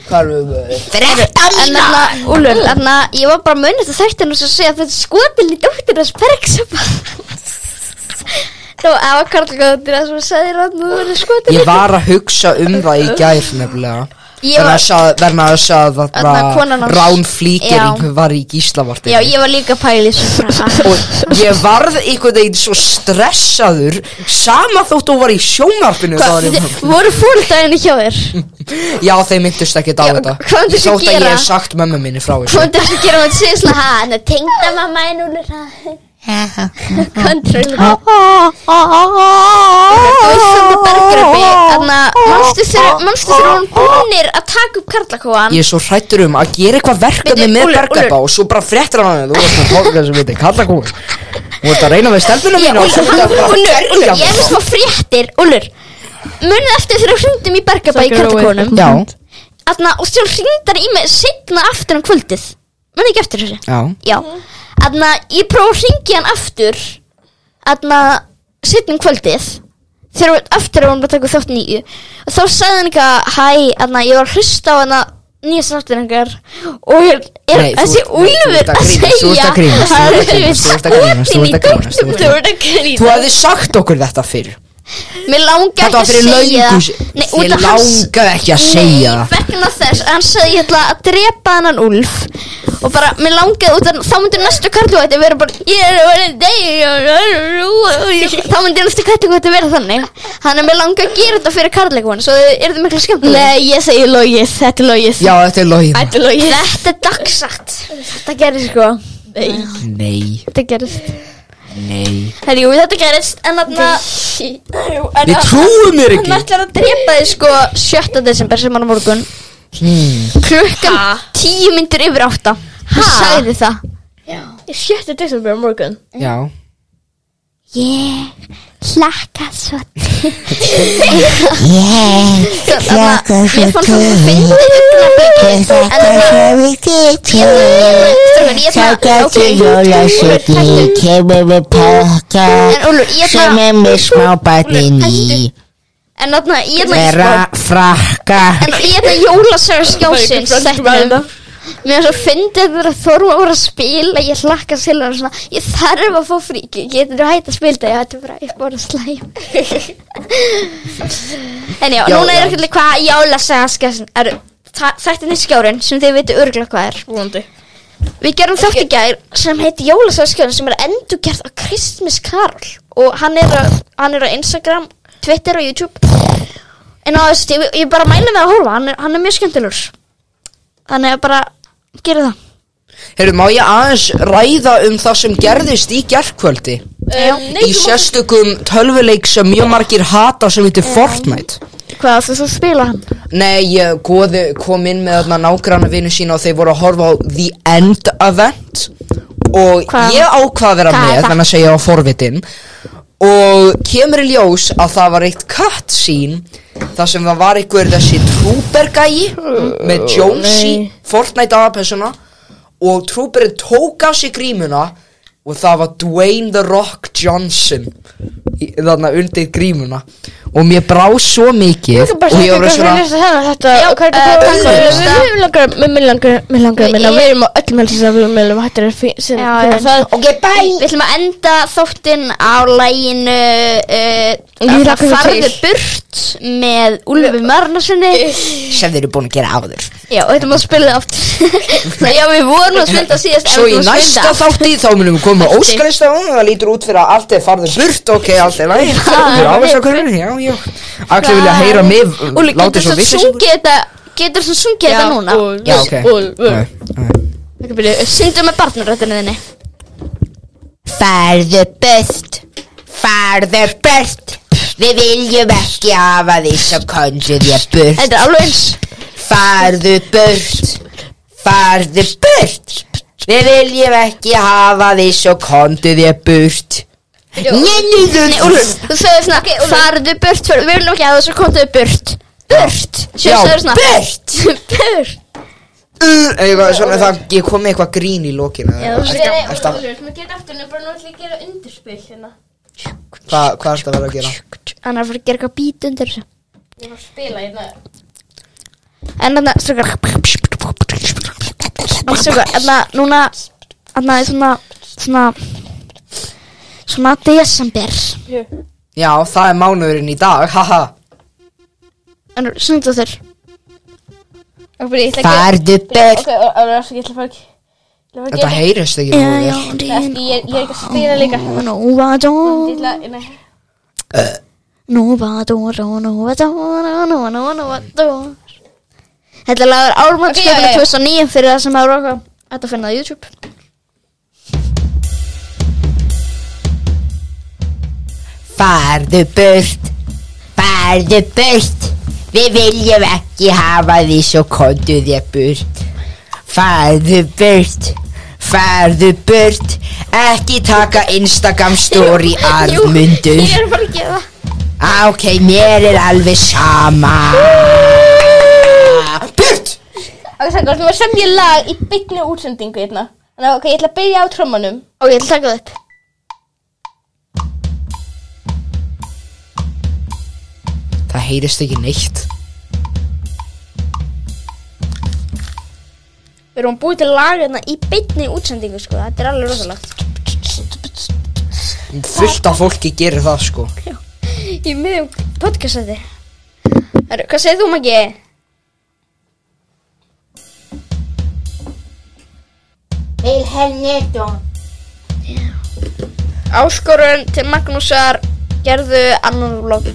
Speaker 4: Hvað erum við?
Speaker 2: En þarna, Úlur, þarna, ég var bara munið þetta þættinu sem segja að þetta skotin í dóttir þess bergsopa Nú, það var karlgóttir að svo sagðir að nú verður skotin
Speaker 4: Ég var að hugsa um það í gær nefnilega
Speaker 2: Ég
Speaker 4: Verna
Speaker 2: var,
Speaker 4: þess að, verna þess að það
Speaker 2: Þarna konan
Speaker 4: bara
Speaker 2: hans.
Speaker 4: Rán Flíkering
Speaker 2: Já.
Speaker 4: var í gíslavartin
Speaker 2: já, ég var líka sko. pæli Ég
Speaker 4: Og ég varð einhvern veginn svo stressaður Sama þótt þú var í sjónvarpinu þá var ég-
Speaker 2: Voru fóldaginu hjá þér?
Speaker 4: Já, þeir myndust ekki á þetta
Speaker 2: hvað myndu
Speaker 4: Ég
Speaker 2: þau
Speaker 4: þótt að ég
Speaker 2: gera?
Speaker 4: hef sagt mömmu minni frá þessu
Speaker 2: Hvað er þetta að gera með þessi svona Ha, hann er tengda mamma en hún er Control Þú veist þetta bergröpi Þannig að um manstu þegar Manstu þegar hún búnir að taka upp karlakóan
Speaker 4: Ég er svo hrættur um að gera eitthvað verkefni
Speaker 2: Bíddu,
Speaker 4: með
Speaker 2: Úlfur,
Speaker 4: bergabá og svo bara fréttir hann að það, þú veist með fólk sem veitir, kalla kúr Þú ert að reyna við stelpunum mínu og svo ert að bara
Speaker 2: Úlur, Úlur, ég
Speaker 4: berja
Speaker 2: er
Speaker 4: mig.
Speaker 2: með smá fréttir Úlur, munið eftir þegar hringdum í Bergabæ í karlakónum
Speaker 4: Já,
Speaker 2: Þarna, og svo hringdar í mig Seinna aftur um kvöldið Munið ekki eftir þessu
Speaker 4: já,
Speaker 2: Já, þarna, ég prófa að hringja hann aftur Þarna, seinna um kvöldið Þegar við aftur að hún var að taka þátt nýju Og þá sagði hann eitthvað Hæ, þarna, ég var að hlusta á hana Nýja sáttir hengar Og hér er
Speaker 4: Nei, þú
Speaker 2: þessi
Speaker 4: ert- nei, þú ert
Speaker 2: úlfur
Speaker 4: að
Speaker 2: að
Speaker 4: grínast, þú ert
Speaker 2: segja
Speaker 4: að grínast, þú ert að grínast, þú ert að grínast, þú
Speaker 2: Skotin í
Speaker 4: ert að grínast, þú ert að grínast, þú ert að
Speaker 2: dóttur ert að
Speaker 4: grínast.
Speaker 2: grínast
Speaker 4: þú hefði sagt okkur þetta fyrr
Speaker 2: Mér langar
Speaker 4: Þetta var
Speaker 2: ekki að
Speaker 4: fyrir
Speaker 2: segja
Speaker 4: löngu
Speaker 2: það Nei,
Speaker 4: Þið
Speaker 2: út af hans
Speaker 4: langaði ekki að segja
Speaker 2: Nei,
Speaker 4: það
Speaker 2: vegna þess að hann sagði ég ætla að drepa hennan Úlf Og bara, mér langaði út af Þá myndi næstu karlugætti vera bara Ég er að vera deg Þá myndi næstu karlugætti vera þannig Þannig að mér langar að gera þetta fyrir karlugætti Svo er þetta miklu skemmtilega
Speaker 3: Nei, ég segi logið, þetta er logið
Speaker 4: Já, þetta er logið
Speaker 3: Þetta er logið
Speaker 2: Þetta er dagsagt Þetta gerði sko
Speaker 4: Nei,
Speaker 2: Þetta gerðist
Speaker 4: nei
Speaker 2: Herjú, þetta gerðist En þarna
Speaker 4: Við trúum mér
Speaker 2: Hann
Speaker 4: ekki
Speaker 2: ætlar að drepa þig sko 7. desember sem hann á morgun
Speaker 4: hmm.
Speaker 2: Klukkan tíu myndir yfir átta Hann sagði það
Speaker 6: Ég sjötti desember á morgun
Speaker 4: Já,
Speaker 5: Ég hlakka svo
Speaker 2: Þannig að mér fannst það að finna þetta En það Strákar, ég ætla að Ok,
Speaker 7: Jólasveitin kemur með pakka
Speaker 2: En Úlur, ég
Speaker 7: sem
Speaker 2: ætla
Speaker 7: er með smábarnin í
Speaker 2: En þarna, ég ætla
Speaker 7: vera frakka
Speaker 2: En ég ætla jólasaga skjásins
Speaker 3: hérna,
Speaker 2: Þetta Mér er svo fyndið að vera þorfa að voru að spila Ég hlakka til hann svona Ég þarf að fá fríki, getur þú hægt að spila það? Já, þetta er bara, ég er bara slæm En já,
Speaker 4: Já,
Speaker 2: núna
Speaker 4: já.
Speaker 2: er ekki hvað jólasaga skjásins er Þetta er skjárin sem þið veitu örgulega hvað er
Speaker 6: Vonandi
Speaker 2: Við gerum þátt í gær sem heiti Jólasagaskjölinn sem er endurgerð af Christmas Carol og hann er, á- hann er á Instagram, Twitter og YouTube en á þessu tíu, ég bara mæli með að horfa, hann er, hann er mjög skemmtilegur þannig að bara gera það
Speaker 4: Heyrðu, má ég aðeins ræða um það sem gerðist í gerkvöldi?
Speaker 3: Ehm,
Speaker 4: Í sérstökum tölvuleik sem mjög margir hata sem heitir Fortnite
Speaker 2: Hvað þú svo spila hann?
Speaker 4: Nei, ég goði, kom inn með þarna nágranna vinnu sína og þeir voru að horfa á The End Event og
Speaker 2: Hvað-
Speaker 4: ég ákvað að vera
Speaker 2: hvað er
Speaker 4: með
Speaker 2: það?
Speaker 4: þannig að segja á forvitin og kemur í ljós að það var eitt cutscene þar sem það var einhver þessi trúbergægi
Speaker 2: Oh,
Speaker 4: með Jonesy, Fortnite aðapersona og trúberið tók á sig grímuna og það var Dwayne The Rock Johnson í- þarna undir grímuna og mér brá svo mikið
Speaker 3: Ég bara
Speaker 4: og
Speaker 3: segja
Speaker 4: ég var
Speaker 3: hvað
Speaker 4: svona
Speaker 3: fyrir þetta þetta
Speaker 2: Já,
Speaker 3: og hvað
Speaker 2: eh,
Speaker 3: er
Speaker 2: takk
Speaker 3: þetta
Speaker 2: fyrir
Speaker 3: fyrir
Speaker 2: þetta.
Speaker 3: Mér langar, mér- mér langar, mér langar hérna
Speaker 2: Ég-
Speaker 3: að minna Við erum á öllum helsinsaflumilum Hættir að fin- sem-
Speaker 2: Já,
Speaker 3: finna
Speaker 2: já.
Speaker 3: það
Speaker 2: Ok, bye! Við ætlum að enda þáttinn á læginu uh,
Speaker 3: Ég hlakka svo
Speaker 2: Farðu
Speaker 3: til.
Speaker 2: burt með Úlfi Marnarssoni
Speaker 4: sem þeir eru búin að gera áður
Speaker 2: Já, og þetta má spila það oft Já, við vorum að spila það síðast en
Speaker 4: Svo í
Speaker 2: við ætlum að spila
Speaker 4: næsta
Speaker 2: það.
Speaker 4: þátti þá munum við koma með óskalista og það lítur út fyrir að allt er farður burt ok, allt er læg Já, veist það hvernig, já, já Allir vilja heyra mig, uh,
Speaker 2: Úli,
Speaker 4: láta
Speaker 2: getur
Speaker 4: svo
Speaker 2: þú
Speaker 4: vissi sem-
Speaker 2: sungið þetta Getur þú sungið þetta núna?
Speaker 4: Já, ok Nei,
Speaker 6: Úlfur
Speaker 4: nei.
Speaker 2: Syngdu með barnaröttinu þinni
Speaker 7: Farðu best Farðu best Við viljum ekki hafa því sem konjur ég burt
Speaker 2: Þetta er alveg eins
Speaker 7: Farðu burt Farðu burt Við viljum ekki hafa því sem konjur ég burt
Speaker 2: Nei, Úlfur, þú sagði svona Farðu burt, farðu, við viljum ekki að þessu kontuðu burt Burt Sér
Speaker 4: Já,
Speaker 2: sagði svona Burt Burt
Speaker 4: Uh, eitthvað Svona það, ég kom með eitthvað grín í lokinu Ertu að-
Speaker 6: Úlfur, maður getur aftur en bara nú ætlum ég að gera undirspil hérna
Speaker 4: Hvað hvað ertu að vera að gera?
Speaker 2: Hann er að fara að gera eitthvað bít undir þessu
Speaker 6: Ég var að spila hérna
Speaker 2: En hérna, þannig, strókar Strókar, þannig, núna Þannig, svona Svona
Speaker 8: Svona desember
Speaker 9: Já, það er mánuðurinn í dag, haha
Speaker 8: En snudd á þér
Speaker 3: Ok, byrja, ég ætla ekki
Speaker 4: Farðu
Speaker 3: að...
Speaker 4: burt
Speaker 3: Ok, og- og- afsakið, ég ætla bara ekki Ég ætla bara
Speaker 9: Þetta
Speaker 3: ekki
Speaker 9: heyrist ekki
Speaker 8: Já,
Speaker 9: mjög
Speaker 8: já,
Speaker 9: vel
Speaker 3: Nei,
Speaker 8: rín
Speaker 3: Ég ég er ekki að spila líka Ég
Speaker 8: Núvadó
Speaker 3: ætla, nei
Speaker 8: Núvadó, núvadó, núvadó, núvadó Þetta er lagur
Speaker 3: Ok, já,
Speaker 8: ármannskjöfni
Speaker 3: já, já.
Speaker 8: 2009 fyrir það sem að roka Þetta finna á YouTube
Speaker 4: Farðu burt Farðu burt Við viljum ekki hafa því svo kontu þér burt Farðu burt Farðu burt Ekki taka Instagram story armundu
Speaker 8: Ég er bara að gera það
Speaker 4: Á, Ok, mér er alveg sama Burt
Speaker 3: Ok, sagði, þú var sem ég lag í byggni útsendingu hérna Þannig að, ok, ég ætla að byrja á trommanum
Speaker 8: Og ég ætla að taka það upp
Speaker 9: Það heyrist ekki neitt
Speaker 2: Við erum búið til lag hérna í beinni útsendingu sko, þetta er alveg rosalegt.
Speaker 9: Fullt af fólki gerir það sko
Speaker 2: Í miðjum podcastætti. Herru, hvað segir þú Maggi? Vilhelm Nýttum. Áskorun til Magnúsar gerðu annan vlog.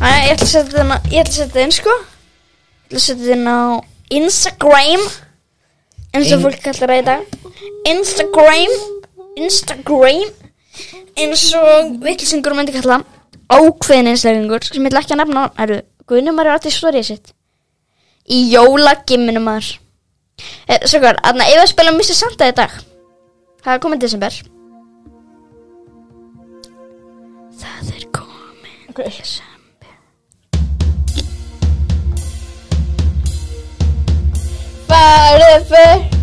Speaker 2: Æja, ég ætla að setja þetta inn, ég ætla að setja þetta inn sko. Ég ætla að setja þetta inn á Instagram. Eins og fólk kallar það í dag. Instagram. Instagram eins og vittlisingur myndi kalla ákveðin einstaklingur sem ég ætla ekki að nefna eru Guðnumar er alltaf stórið sitt í jólagimminum maður e, svo hvað, aðna ef að spila Mr. Santa í dag það er komið desember það er komið desember
Speaker 3: Farðu burt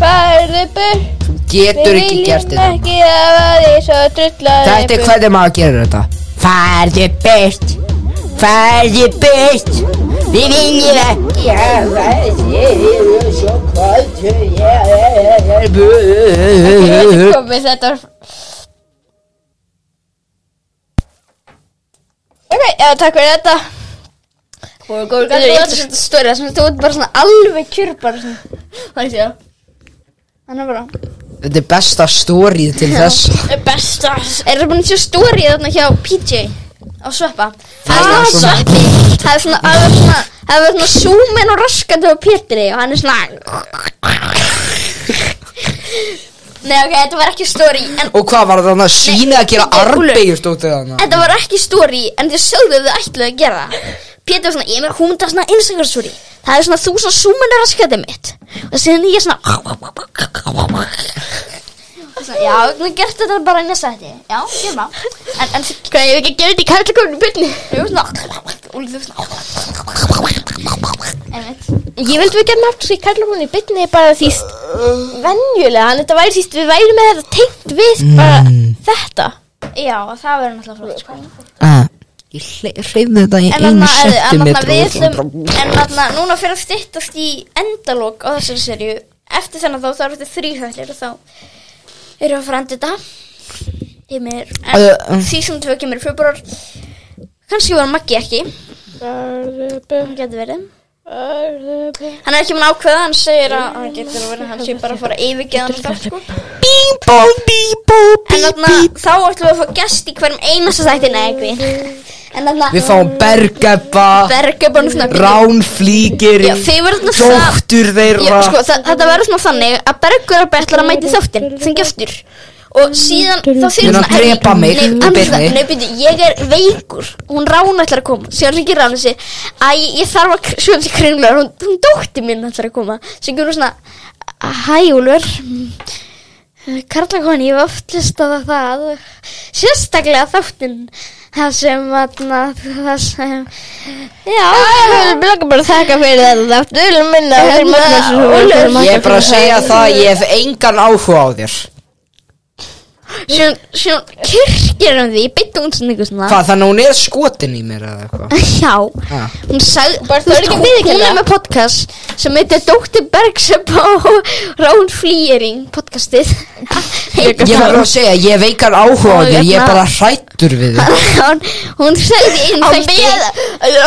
Speaker 3: Farðu burt
Speaker 9: Getur ekki gert þetta
Speaker 3: ekki hafa því svo drullaði
Speaker 9: Þetta er hvernig maður gerir þetta
Speaker 4: Farðu burt Farðu burt Við viljum ekki hafa því svo kontu þér burt
Speaker 3: komið þetta var Ok, já, takk fyrir þetta Góður, góður,
Speaker 2: Þetta er
Speaker 3: góður
Speaker 2: eitthvað stórið sem þú ert bara svona alveg kjur bara svona
Speaker 3: Þannig séu
Speaker 2: Þannig bara
Speaker 9: Þetta er besta stórið til þess
Speaker 2: Besta Er það búin að sjá stórið þarna hjá PJ Á sveppa Það
Speaker 9: er svona-
Speaker 2: er svona sveppi Það er svona Það er svona Það er svona Súmin og raskandi á Pétri Og hann er svona Nei ok, þetta var ekki stóri En
Speaker 9: Og hvað var þarna sýnið að gera
Speaker 2: Nei, þetta er Úlfur.
Speaker 9: arbegjur út af þarna
Speaker 2: þetta var ekki stóri En þið sögðu þau ætluðu að gera það Pétri var svona Ég með hún það svona Instagram story Það er svona þú svona súmin og raskandi mitt Og síðan ég svona Svona, Já, þú gert þetta bara í næsta hætti Já, ég má En, en hvað, ég hef ekki gerði þetta í kærleikonu byrni Jú, svona Úlið þú svona Einmitt.
Speaker 3: Ég vildi við gerna aftur því kalla hún í bytni bara því st- venjulega Þannig þetta væri því st- við væri með þetta tengt við bara
Speaker 9: Mm.
Speaker 3: þetta
Speaker 2: Já, það verður náttúrulega flott sko.
Speaker 4: ah, Ég hreyfði þetta í
Speaker 2: En
Speaker 4: einu
Speaker 2: þarna, herðu, en þarna
Speaker 4: sentimetru
Speaker 2: við þum- En þarna, núna fyrir að styttast í endalók á þessari serju Eftir þennan þá, þá eru þetta þrýhættir og þá erum við að fara að enda þetta Kemur, en
Speaker 4: Uh, uh.
Speaker 2: því sem tvö kemur í februar Kannski var Maggi ekki Hann getur verið Hann er ekki mun ákveða, hann segir að hann getur verið Hann sé bara að fara að yfirgeða hann alltaf sko
Speaker 4: Bíbó, bíbó,
Speaker 2: En þarna, þá ætlum við að fá gest í hverjum einasta þætti Nei, ekki En þarna,
Speaker 9: Við fáum bergeppa
Speaker 2: berga bara svona
Speaker 9: Ránflíkir
Speaker 2: Já, þið verður náttúrulega
Speaker 9: Dóttur
Speaker 2: Já,
Speaker 9: þeirra
Speaker 2: sko, þa- þetta verður svona þannig að Bergur er bara ætlar að mæti þáttin sem gestur og síðan þá þýr
Speaker 9: Mun hann drepa mig í beinni?
Speaker 2: Nei, byrju, ég er veikur hún rána ætlar að koma síðan ringir rána sig æ, ég þarf að sjöfum sér kringlar hún, hún dótti mín ætlar að koma sem hún svona hæ Úlfur "Eh, Karla koni, ég hef oft hlustað á það sérstaklega þáttin það sem aðna, það sem já,
Speaker 3: Ég vil bara þakka fyrir þetta þáttu Ég vil minna að
Speaker 6: hérna
Speaker 3: það er Magnús
Speaker 2: Úlfur
Speaker 9: Ég er bara að segja það Ég hef engan áhuga á þér
Speaker 2: Sjón, sjón, kirkir um því, bytti hún svona eitthvað svona
Speaker 4: Hvað, þannig að hún er skotin í mér eða eitthvað?
Speaker 2: Já,
Speaker 4: Ha.
Speaker 2: hún sagði
Speaker 6: Bara það er ekki
Speaker 2: hún,
Speaker 6: viðurkennt
Speaker 2: hún er
Speaker 6: það.
Speaker 2: með podcast sem heitir Dóttir Bergsöp og Rán Flýring podcastið
Speaker 4: Ég verður að segja, ég hef veikar áhuga á
Speaker 2: Og
Speaker 4: þér, ég er
Speaker 2: hérna-
Speaker 4: bara hrættur við þig
Speaker 2: hún, hún sagði í einu
Speaker 6: Á
Speaker 2: þætti
Speaker 6: beða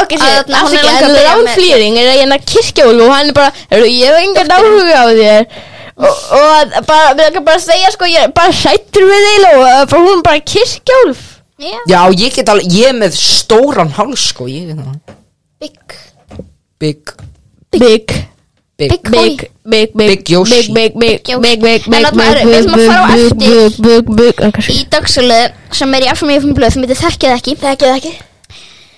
Speaker 6: Okkur
Speaker 2: Að
Speaker 6: sé,
Speaker 2: þarna, hún er
Speaker 6: afsakið,
Speaker 2: langar að
Speaker 6: en
Speaker 2: byrja
Speaker 6: Rán
Speaker 2: með-
Speaker 6: Flýring er eina kirkjól og hann er bara, heyrðu, ég hef engan áhuga á þér og, og að bara, við erum bara að segja sko, ég er bara sættur við þig og uh, bara, hún er bara kirkjólf
Speaker 4: Já, ég get alveg, ég er með stóran háls sko, ég get það
Speaker 2: Big
Speaker 4: Big,
Speaker 6: Big
Speaker 4: big,
Speaker 2: Big
Speaker 6: Big, big, big,
Speaker 4: Big Yoshi.
Speaker 6: Big, big, big, big, big,
Speaker 2: En
Speaker 6: big,
Speaker 2: þarna er- við
Speaker 6: big,
Speaker 2: ætlum að fara á
Speaker 6: big,
Speaker 2: eftir.
Speaker 6: big, big, big, big, big
Speaker 2: í dagsölu sem er í FMF blöð sem heitir Þekkið ekki Þekkið ekki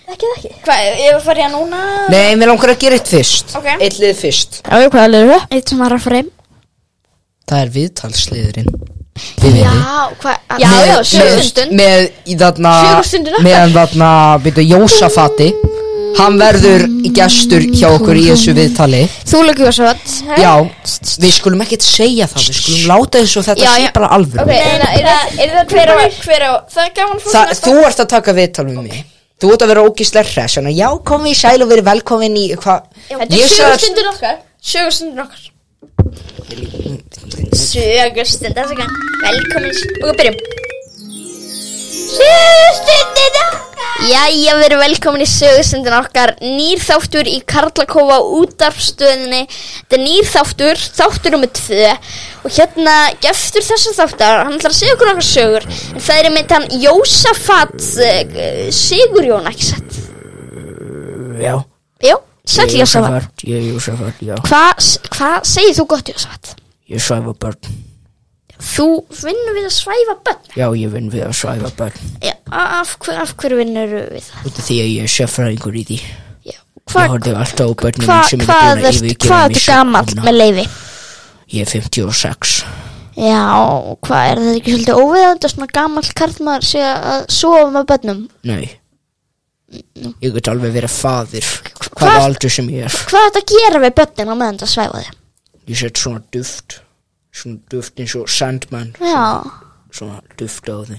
Speaker 2: Þekkið ekki Hvað, ég var að fara í að núna
Speaker 4: Nei, mér langar að gera eitt fyrst
Speaker 2: Ok.
Speaker 4: Eitt lið fyrst
Speaker 6: Já, ég hvað er það?
Speaker 2: Eitt sem var að fara í
Speaker 4: Það er viðtalsliðurinn Þið
Speaker 2: Já,
Speaker 4: vitið.
Speaker 2: hvað
Speaker 4: Með-
Speaker 6: Já, já,
Speaker 4: með-
Speaker 6: sjöfustund
Speaker 4: Með í þarna
Speaker 6: Sjöfustundin okkar.
Speaker 4: Meðan þarna, byrju, Jósafati Hann verður gestur hjá okkur í þessu viðtali
Speaker 2: Þú lukkið var svo vott
Speaker 4: Já, við skulum ekkert segja það Við skulum láta þessu og þetta
Speaker 2: Já,
Speaker 4: sé
Speaker 2: já.
Speaker 4: bara alvöru
Speaker 2: Er það hver á hver á Það er gaman
Speaker 4: Þa, Þú ert að taka viðtal við mig Þú ert að vera ógíslega hress Þannig að já, komið í sæl og verið velkomin í hvað Ég sagði
Speaker 6: stundir okkar
Speaker 2: Sögustundin okkar Sögustundin þess að Velkomin Og byrjum Sögustundin okkar Jæja, við erum velkomin í sögustundin okkar Nýr þáttur í Karlakofa útarfstöðinni Þetta er nýr þáttur, þáttur um tvö Og hérna, geftur þessum þáttar Hann ætlar að segja okkur okkar sögur En það er með hann Jósafat eh, Sigurjón, ekki satt
Speaker 4: Já,
Speaker 2: Jó, sæll
Speaker 4: ég er
Speaker 2: Jósafat
Speaker 4: Jósafat Ég er Jósafat, já
Speaker 2: Hvað hva segir þú gott Jósafat?
Speaker 4: Ég svæfa börn
Speaker 2: Þú vinnur við að svæfa börn
Speaker 4: Já, ég vinn við að svæfa börn
Speaker 2: Já, af, hver, af hverju vinnur við það?
Speaker 4: Út af því að ég er sérfræðingur í því
Speaker 2: Já.
Speaker 4: Ég
Speaker 2: Hvað
Speaker 4: horfði alltaf á börnum
Speaker 2: hva,
Speaker 4: sem eru
Speaker 2: hvað
Speaker 4: búin að
Speaker 2: er
Speaker 4: yfirgefa
Speaker 2: hvað
Speaker 4: mig
Speaker 2: ertu
Speaker 4: sjö
Speaker 2: gamall
Speaker 4: ára.
Speaker 2: með leiði?
Speaker 4: Ég er 56
Speaker 2: Já, hvað er þetta ekki svolítið óviðandi að svona gamall karlmaður sé að sofa með börnum?
Speaker 4: Nei Ég get alveg verið faðir
Speaker 2: Hvað-
Speaker 4: Hvaða aldur sem ég er
Speaker 2: Hvað er þetta að gera við börnin á meðan þetta svæfa þig?
Speaker 4: Ég set svona duft Svona duft eins og Sandman
Speaker 2: Já,
Speaker 4: Svona duft á því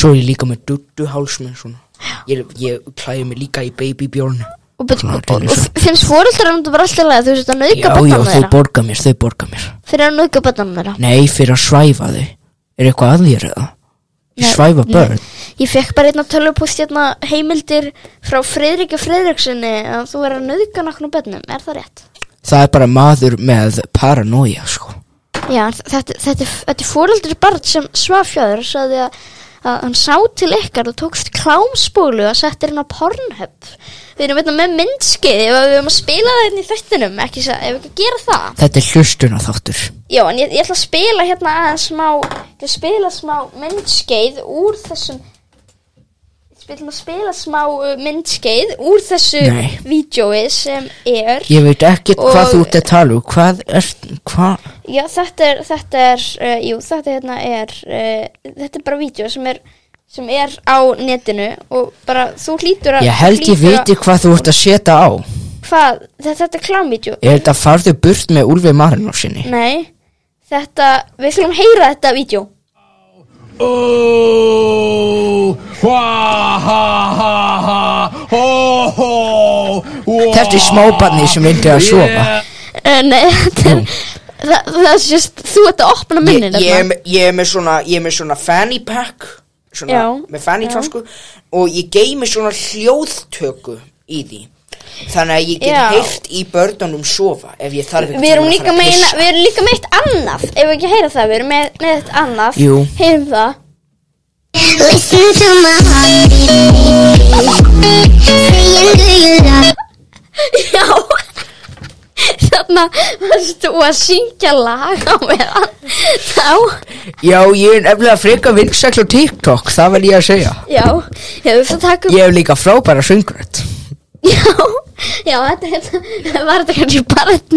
Speaker 4: Svo er ég líka með duttuháls með svona Ég, ég klæði mig líka í babybjörn
Speaker 2: og, bet,
Speaker 4: Svona,
Speaker 2: og,
Speaker 4: þetta er
Speaker 2: og,
Speaker 4: eins
Speaker 2: og finnst fóreldrar um þetta bara alltaf að þú veist að
Speaker 4: Já,
Speaker 2: nauðga
Speaker 4: já,
Speaker 2: börnum
Speaker 4: þau
Speaker 2: þeirra?
Speaker 4: borga mér, þau borga mér
Speaker 2: Fyrir að nauðga börnum þeirra?
Speaker 4: Nei, fyrir að svæfa þau Er eitthvað að þér eða? Ég
Speaker 2: Nei,
Speaker 4: svæfa börn
Speaker 2: Ég fekk bara einna tölvupúst hérna heimildir frá Friðriki Friðriksinni að þú er að nauðga nokkrum börnum, er það rétt?
Speaker 4: Það er bara maður með paranoia sko
Speaker 2: Já, en þetta, þetta, er- þetta er fóröldri barn sem svafjáður sagði að, að hann sá til ykkar og tókst klámspólu og settir hann á Pornhub Við erum veitna með myndskeiði og við erum að spila það hérna í þettinum ekki sa- ef við ekki að gera það
Speaker 4: Þetta er hlustuna þáttur
Speaker 2: Já, en ég, ég ætla að spila hérna aðeins smá ég ætla að spila smá myndskeið úr þessum Við ætlum að spila smá uh, myndskeið úr þessu
Speaker 4: Nei.
Speaker 2: vídjói sem er
Speaker 4: Ég veit ekkert
Speaker 2: Og-
Speaker 4: hvað þú ert að tala um Hvað er, hvað
Speaker 2: Já, þetta er, þetta er, uh, jú, þetta hérna er, uh, þetta er bara vídeo sem er, sem er á netinu og bara þú hlýtur að...
Speaker 4: Ég held ég
Speaker 2: hlýtur að-
Speaker 4: viti hvað þú ert að setja á
Speaker 2: Hvað, þetta, þetta er klámvídeo?
Speaker 4: Er þetta farðu burt með Úlfi Marinov sinni?
Speaker 2: Nei, þetta, við skulum heyra þetta vídeo.
Speaker 10: Oh, ha, ha, ha, ha, ho, ho, wow.
Speaker 4: Þetta er smábarni sem vildi að sofa
Speaker 10: Yeah.
Speaker 2: Uh, nei, þetta er, það, það er sérst, þú ert að opna hérna.
Speaker 4: ég,
Speaker 2: minnin.
Speaker 4: ég, er með- ég er með svona Ég er með svona fanny pack Svona
Speaker 2: Já,
Speaker 4: með fanny törsku Og ég geymi svona hljóðtöku í því Þannig að ég get
Speaker 2: Já.
Speaker 4: heyrt í börnunum sofa Ef ég þarf
Speaker 2: Við erum líka með, eina, við erum líka með eitt annað, ef við ekki heyra það, við erum með, með eitt annað.
Speaker 4: Jú.
Speaker 2: Heyrum það.
Speaker 11: Listen to my heartbeat, baby. Saying, do you love
Speaker 2: Já Þarna varstu að syngja lag á meðan Þá,
Speaker 4: Já, ég er nefnilega freka vinsækl á TikTok Það vel ég að segja
Speaker 2: já, hefur það takum
Speaker 4: Ég hef líka frábæra söngrödd
Speaker 2: Já, já, þetta hérna Var þetta kannski barn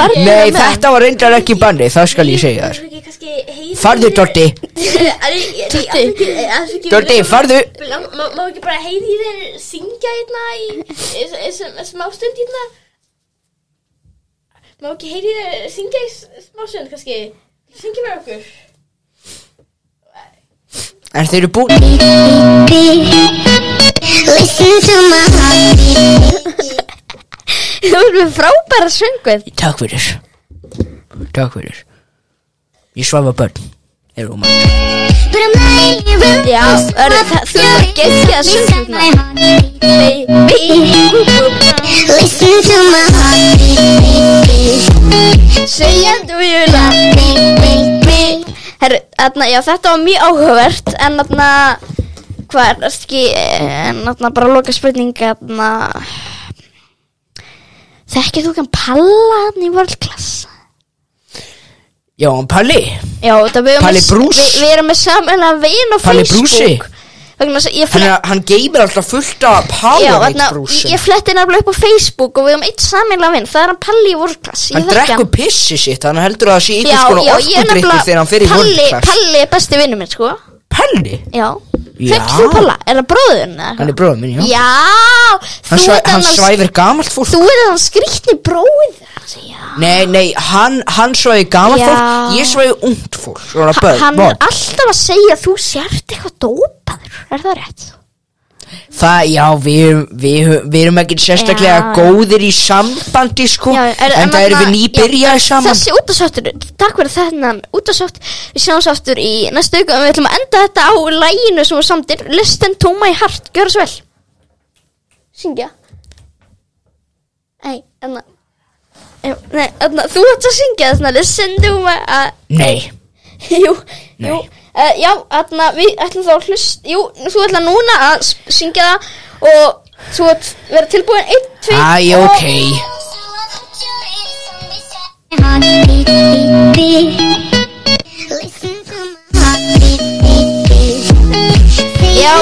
Speaker 2: Barn
Speaker 4: Nei, þetta var reyndar ekki banni, það skal ég segja þér Farðu, Dotti
Speaker 2: Tutti
Speaker 4: Dotti, farðu
Speaker 6: Má ekki bara heyri þeir syngja hérna í smástund hérna Má ekki heyri þeir syngja í smástund kannski Syngja með okkur
Speaker 4: En þau eru búin
Speaker 11: Listen to my heartbeat.
Speaker 2: Þú erum við frábæra sönguð
Speaker 4: Takk fyrir Takk fyrir Ég svafa börn Eru um
Speaker 11: But I'm lying around.
Speaker 2: Já, Örn, það- þú er geggjað sönguna Baby
Speaker 11: Listen to my heartbeat.
Speaker 2: Segjandi og ég vil að Herru, þarna, já, þetta var mjög áhugavert En þarna, hvað er það ekki En þarna bara loka spurninga Þarna Þekkir þú kann palla hann í World Class?
Speaker 4: Já, en Palli
Speaker 2: Já, þetta við erum
Speaker 4: Palli
Speaker 2: með-
Speaker 4: Brús.
Speaker 2: Við, við erum með samanlega veginn á
Speaker 4: Palli
Speaker 2: Facebook
Speaker 4: Brúsi.
Speaker 2: Vegna þess að ég
Speaker 4: Hann,
Speaker 2: flett
Speaker 4: er- hann geymir alltaf fullt af
Speaker 2: Já,
Speaker 4: Powerade
Speaker 2: þarna,
Speaker 4: brúsum
Speaker 2: ég fletti nefnilega upp á Facebook og við erum eitt saminlega vinn, það er hann Palli í World Class Ég
Speaker 4: Hann
Speaker 2: þekki
Speaker 4: drekkur sko, pissi sitt Hann heldur að það sé
Speaker 2: Já,
Speaker 4: einhvers konar
Speaker 2: já, ég er
Speaker 4: orkudrykkur Þegar hann fyrir
Speaker 2: Palli,
Speaker 4: vörnklass
Speaker 2: Palli er besti vinnu minn, sko
Speaker 4: Palli
Speaker 2: Já,
Speaker 4: Já.
Speaker 2: þekkir þú Palla? Er það bróðurinn? eða
Speaker 4: Hann
Speaker 2: eitthvað?
Speaker 4: er bróðum minn, já
Speaker 2: Já,
Speaker 4: Hann,
Speaker 2: þú
Speaker 4: svæ,
Speaker 2: ert
Speaker 4: hann
Speaker 2: annars-
Speaker 4: svæfir gamalt fólk
Speaker 2: Þú er þann skrýtni bróðir hans, já
Speaker 4: Nei, nei, hann, hann svæði gamalt
Speaker 2: Já.
Speaker 4: fólk Ég svæði ungt fólk Svona
Speaker 2: Ha-
Speaker 4: börn,
Speaker 2: Hann er
Speaker 4: börn
Speaker 2: alltaf að segja að þú sért eitthvað dópaður, er það rétt?
Speaker 4: Það, já, við erum, við, erum- við erum ekki sérstaklega
Speaker 2: Já.
Speaker 4: góðir í sambandi, sko
Speaker 2: Já, er-
Speaker 4: En það erum
Speaker 2: þarna-
Speaker 4: við nýbyrjaði
Speaker 2: já,
Speaker 4: saman
Speaker 2: Þessi útastáttur, takk fyrir þennan útasátt Við sjáumst aftur í næstu auku Við ætlum að enda þetta á læginu sem við samtir Listen to my heart, gjör þess vel Syngja Nei, enna Nei, enna, þú ert að syngja þessna Listen to my uh,
Speaker 4: Nei,
Speaker 2: Jú, jú uh, Já, enna, við ætlum þá að hlust Jú, þú ætla núna að s- syngja það Og þú ætla að vera tilbúin 1, 2,
Speaker 4: æ, ok
Speaker 2: Já,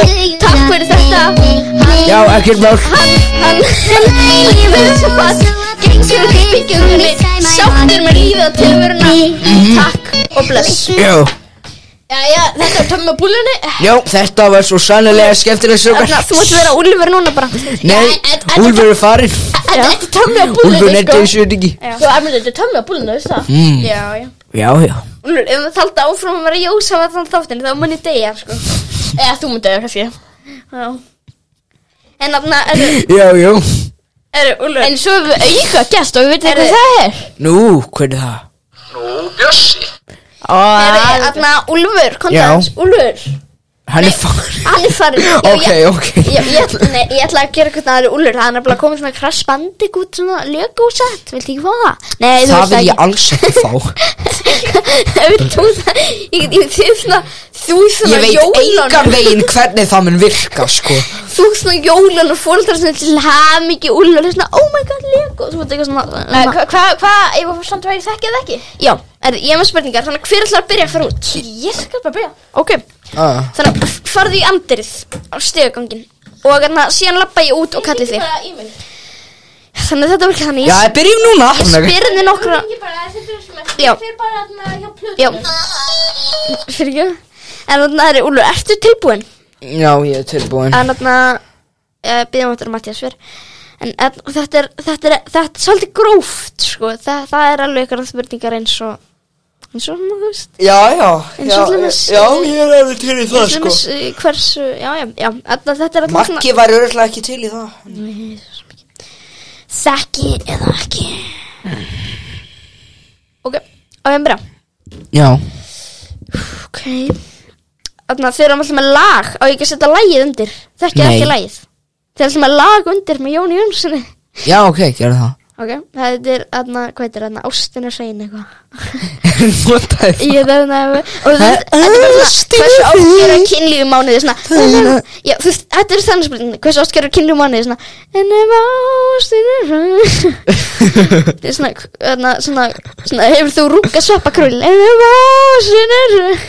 Speaker 2: takk fyrir þetta
Speaker 4: Já, ekkert mál
Speaker 2: Hann, hann, hann er svo fast Gengur upp í byggjumni Sáttur með lífið og tilveruna Takk og bless
Speaker 4: Já,
Speaker 2: Jæja, þetta er tömmu búlunni
Speaker 4: já, þetta var svo sannilega skemmtilega sögur
Speaker 2: Þarna, Þú ætti að vera Úlfur núna bara Þetta
Speaker 4: Nei, Úlfur er farin
Speaker 2: er tömmu að
Speaker 4: Úlfur
Speaker 2: búlunni
Speaker 4: nefndi þessu ekki
Speaker 2: Sko,
Speaker 6: Þú er mér þetta tömmi að búlinu, veist það?
Speaker 2: Já, já
Speaker 4: Hmm. Já, já
Speaker 2: Úlfur, ef maður þaldi áfram að vera Jósa var þann þáttin þá mun ég deyja, sko
Speaker 6: Eða þú myndið það kannski.
Speaker 2: Já En þarna, eru,
Speaker 4: Já, já
Speaker 2: eru, Úlfur
Speaker 6: En svo hefur við auka gæst og við veitum hvað það er.
Speaker 4: Nú, hvernig það?
Speaker 2: Eru, þarna, Úlfur, kom
Speaker 4: Já.
Speaker 2: það Úlfur,
Speaker 4: Hann er farin
Speaker 2: hann er farin Já,
Speaker 4: Ok,
Speaker 2: ég-
Speaker 4: ok
Speaker 2: ég, ég, ætla- nei, ég ætla að gera eitthvað aðri úlur Það er nefnilega komið svona Crash Bandicoot svona lögúsett Viltu ekki fá það? Nei, þú
Speaker 4: Það
Speaker 2: veist
Speaker 4: vil
Speaker 2: ekki
Speaker 4: ég alls ekki fá
Speaker 2: Vilt þú það? Ég, ég, þið svona, þú svona
Speaker 4: Ég veit engan
Speaker 2: jólan
Speaker 4: veginn hvernig það mun virka, sko
Speaker 2: Þú svona jólan og fóldrar svona til hamingi úlur Það er svona, oh my god, lögú Þú veit eitthvað svona
Speaker 6: Hvað,
Speaker 2: svona-
Speaker 6: hvað, hvað, ég var samt að vera þekki eða ekki?
Speaker 2: Já, er, ég er með spurningar Þannig, hver ætlar að byrja að fara út?
Speaker 6: Ég skal bara byrja.
Speaker 2: Ok,
Speaker 4: ah.
Speaker 2: þannig, f- farðu í andrið á stegagangin Og þannig, síðan lappa ég út og kalli þig
Speaker 6: Bara í mig.
Speaker 2: Þannig, þetta var ekki þannig
Speaker 4: Já,
Speaker 2: Ég
Speaker 4: byrjum núna
Speaker 2: spyrði nokkra
Speaker 6: Ég bara, þetta er svona,
Speaker 2: Já.
Speaker 6: ég fer bara hérna hjá plötu.
Speaker 2: Já Fyrir ekki En þannig að það er Úlur, ertu tilbúin?
Speaker 4: Já, ég er tilbúin
Speaker 2: En þannig að uh, Býðum þetta er Mattias fyrr En en þetta er, þetta er, þetta er svolítið gróft sko. Þa, Það er alveg ykkur spurningar eins og Eins og, þú veist
Speaker 4: Já, já
Speaker 2: En
Speaker 4: já,
Speaker 2: svo til dæmis-
Speaker 4: já, ég er alveg til í það,
Speaker 2: til
Speaker 4: sko
Speaker 2: dæmis, eh, Hversu, já, já, já Þetta, þetta er alltaf
Speaker 4: Maggi var örgulega ekki til í það
Speaker 2: Þekki eða ekki Ok, á ég að byrja
Speaker 4: Já
Speaker 2: Ok Þannig að þeir eru alltaf með lag Á ég ekki að setja lagið undir Þekki
Speaker 4: Nei.
Speaker 2: ekki lagið Þeir eru alltaf með lag undir með Jóni Jónssoni
Speaker 4: Já, ok, gerðu það
Speaker 2: Ok, það er aðna, hvað heitir aðna, ástin er sæn eitthvað
Speaker 4: Notaði það
Speaker 2: Ég er aðna, og það þetta er bara svona, hversu oft gerur kynlíu mánuði svona, en ef, já, þú veist, þetta er þannig spurning, hversu oft gerur kynlíu mánuði svona, en ef ástin er sæn, þetta er svona, aðna, svona, svona, hefur þú rúka sveppa krull, en ef ástin er sæn,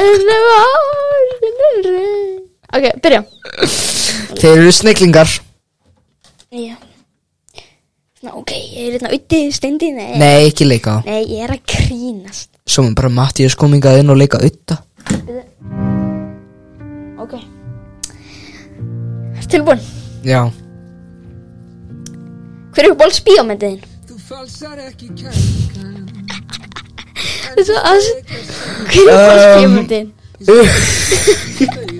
Speaker 2: en ef ástin er sæn, ok, byrja.
Speaker 4: Þeir eru sniglingar
Speaker 2: Já. Svona, ok, ég er hérna auðvitað stundin, nei.
Speaker 4: Nei, ekki leika
Speaker 2: Nei, ég er að grínast.
Speaker 4: Svo mun bara Mattias komingað inn og leika auðta
Speaker 2: Ok. Tilbúin.
Speaker 4: Já
Speaker 2: Hver er uppáhalds bíómyndiðin? Þú falsar ekki kærleikan. Þessu aðs... Hver er uppáhalds bíómyndiðin? Og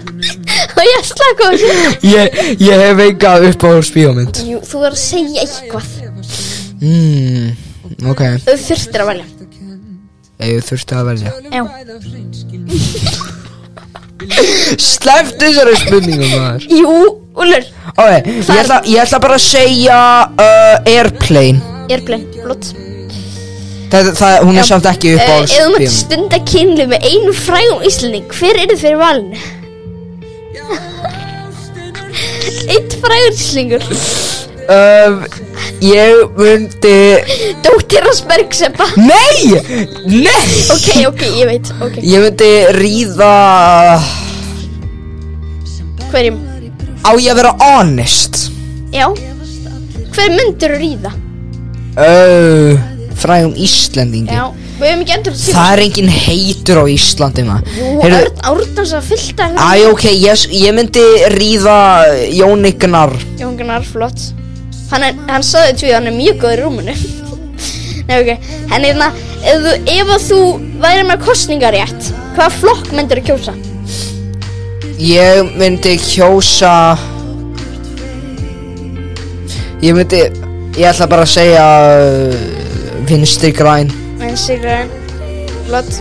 Speaker 2: Um. ég slaka á þessu
Speaker 4: Ég, ég hef enga upp á spíómynd
Speaker 2: Jú, þú verður að segja eitthvað
Speaker 4: mm, Ok,
Speaker 2: Þau þurftir að velja
Speaker 4: ef ég þurfti að velja
Speaker 2: Já.
Speaker 4: Sleppt þessari spurningum maður
Speaker 2: Jú, Úlur
Speaker 4: Ok, ég ætla, ég ætla bara að segja uh, Airplane
Speaker 2: Airplane, flott
Speaker 4: það, það, Hún er samt ekki upp
Speaker 2: Eh,
Speaker 4: á
Speaker 2: Ef þú mátt
Speaker 4: spíómynd
Speaker 2: stunda kynlu með einu frægum Íslanding Hver er þið fyrir valinu? Eitt frægur Íslingur
Speaker 4: um, Ég myndi
Speaker 2: Dóttir hans Bergseppa
Speaker 4: Nei, nei
Speaker 2: Ok, ok, ég veit okay.
Speaker 4: Ég myndi ríða
Speaker 2: Hverjum?
Speaker 4: Á ég að vera honest
Speaker 2: Já Hver myndur ríða?
Speaker 4: uh, Frægum Íslendingi
Speaker 2: Já, við hefum ekki endur að síðan
Speaker 4: Það er engin heitur á Íslandi maður
Speaker 2: Jú,
Speaker 4: Heyrðu-
Speaker 2: Örn Árnars að fylta hérna
Speaker 4: Æ, ok, ég, ég myndi ríða Jóni Gnar
Speaker 2: Jón Gunnar, flott Hann, er, hann sagði því að hann er mjög góð í rúmunu Nei, ok En hérna, ef þú, ef að þú væri með kostningarétt Hvaða flokk myndur að kjósa?
Speaker 4: Ég myndi kjósa Ég myndi Ég ætla bara að segja uh, Vinstri græn
Speaker 2: En Sigurðan, flott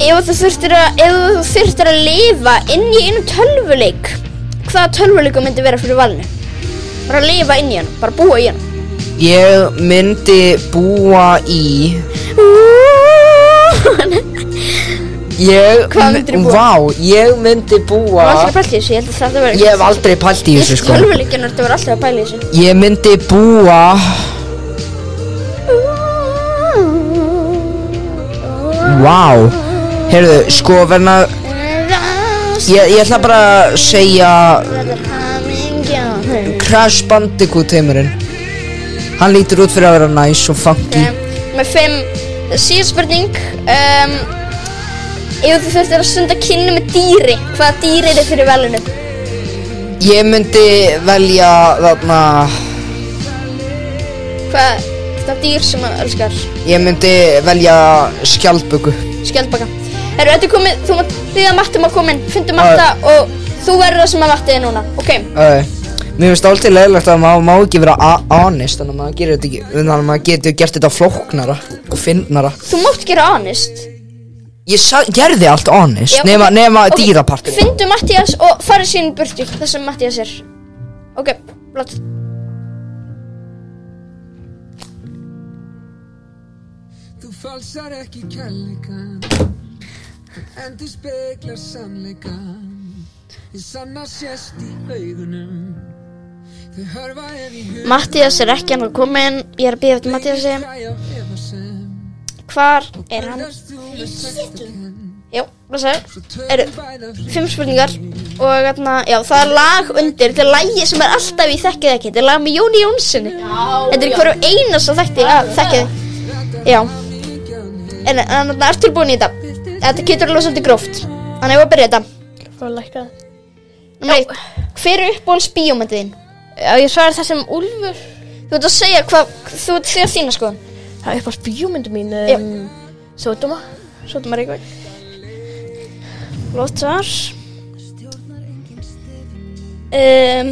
Speaker 2: Ef að þú þurftir að, ef að þú þurftir að lifa inn í einu tölvuleik Hvaða tölvuleiku myndi vera fyrir valinu? Bara að lifa inn í hann, bara búa í hann
Speaker 4: Ég myndi búa í Ég
Speaker 2: Hvað myndirðu búa?
Speaker 4: Vá, ég myndi
Speaker 2: Það var alltaf
Speaker 4: búa
Speaker 2: pælt í þessu, ég held að þetta verður
Speaker 4: Ég hef aldrei pælt í þessu sko
Speaker 2: Tölvuleikin ertu verið alltaf að pæla í þessu
Speaker 4: Ég myndi búa Vá Heyrðu, sko verna Ég, ég ætla bara að segja Crash Bandicoot heimurinn Hann lítur út fyrir að vera næs og funky
Speaker 2: um, Með fimm síðan spurning um, Ef þú þurftir að stunda kynni með dýri Hvaða dýri er þið fyrir velinu?
Speaker 4: Ég myndi velja þarna
Speaker 2: Hvað, það dýr sem að elskar
Speaker 4: Ég myndi velja skjaldböku
Speaker 2: Skjaldbaka Herru, þetta er komið, þú mátt því að Matti má koma inn Fyndu Matta og þú verður það sem að Matti er núna Ok,
Speaker 4: uh, Mér finnst alltaf leiðilegt að maður má ekki vera a- honest Þannig að maður gerir þetta ekki Þannig að maður getur gert þetta flóknara og fyndnara
Speaker 2: þú mátt gera honest
Speaker 4: Ég sa, gerði allt honest
Speaker 2: Já,
Speaker 4: Nema,
Speaker 2: ok.
Speaker 4: nema
Speaker 2: Ok,
Speaker 4: okay. dýrapartin
Speaker 2: Fyndu Mattias og farið sín í burtu Það sem Mattias er Ok, blott
Speaker 12: Þú falsar ekki kærleikan En þú speklar sannleikan Þið sanna sést í augunum Þau hörfa ef í hug
Speaker 2: Mattias er ekki hann að koma inn Ég er að bíða eftir Mattiasi
Speaker 12: Græja efasem
Speaker 2: Hvar er hann?
Speaker 12: Þess þú með sagt að kenn
Speaker 2: Jú, blessaður
Speaker 12: Svo tökum
Speaker 2: Eru-
Speaker 12: bæða
Speaker 2: Fimm spurningar Og þarna, já, það er lag undir Þetta er lagi sem er alltaf í þekkið ekki Þetta er lag með Jóni Jónssoni Þetta er í hverju einas að þekki að þekkið Já En en þarna er tilbúin í þetta Þetta getur alveg svolítið gróft Þannig að byrja þetta
Speaker 6: Það var lækkað.
Speaker 2: Númer eitt, Hver er uppbúin spíómyndið þín?
Speaker 6: Já, ég svarði það sem Úlfur.
Speaker 2: Þú ert að segja hvað Þú ert því að þína skoðan
Speaker 6: Það er upp á spjómyndu mín.
Speaker 2: Já.
Speaker 6: Um, Sotoma.
Speaker 2: Sjóttum að reykja Flott svar um,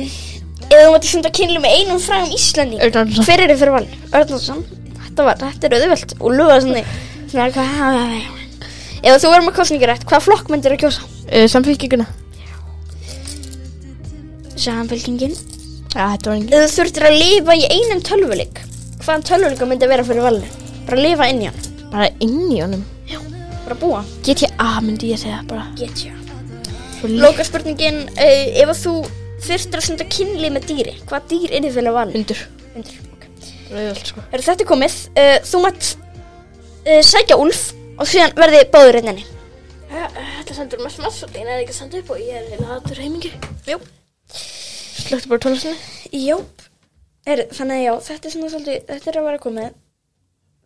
Speaker 2: Ef þú mætti sunda kynlu með einum frægum Íslandi
Speaker 6: Örnarsson.
Speaker 2: Hver er þið fyrir valinu? Örnarsson Þetta var, þetta er auðvöld Og lúða svona Svona hvað ha, ha, ha. Ef þú verður með kostningarætt Hvaða flokk myndir að kjósa?
Speaker 6: Uh, Samfélkinguna.
Speaker 2: Samfélkingin
Speaker 6: Já, þetta var engin.
Speaker 2: Ef þú þurftir að lifa í einum tölvuleik Hvaðan tölvuleika myndi vera fyrir valinu? Bara lifa inn í hann
Speaker 6: Bara inn í honum.
Speaker 2: Bara búa
Speaker 6: GTA myndi ég segja bara.
Speaker 2: Get you
Speaker 6: Svo líka.
Speaker 2: Lóka spurningin, uh, ef að þú þurftir að stunda kynlið með dýri, hvað dýr er þið fyrir að valin?
Speaker 6: Undur.
Speaker 2: Undur. Okay.
Speaker 6: Rauðvöld, sko.
Speaker 2: Er þetta er komið? Uh, þú mátt uh, sækja Úlf og síðan verði báður hérna einn enni.
Speaker 6: Eh, Þetta sendur maður smass og það er ekki að senda upp og ég er heila aður heimingi.
Speaker 2: Jú.
Speaker 6: Slöktu bara tónlistinni.
Speaker 2: Jáp. Er, þannig að já, þetta er svona svolítið, þetta er að vera komið.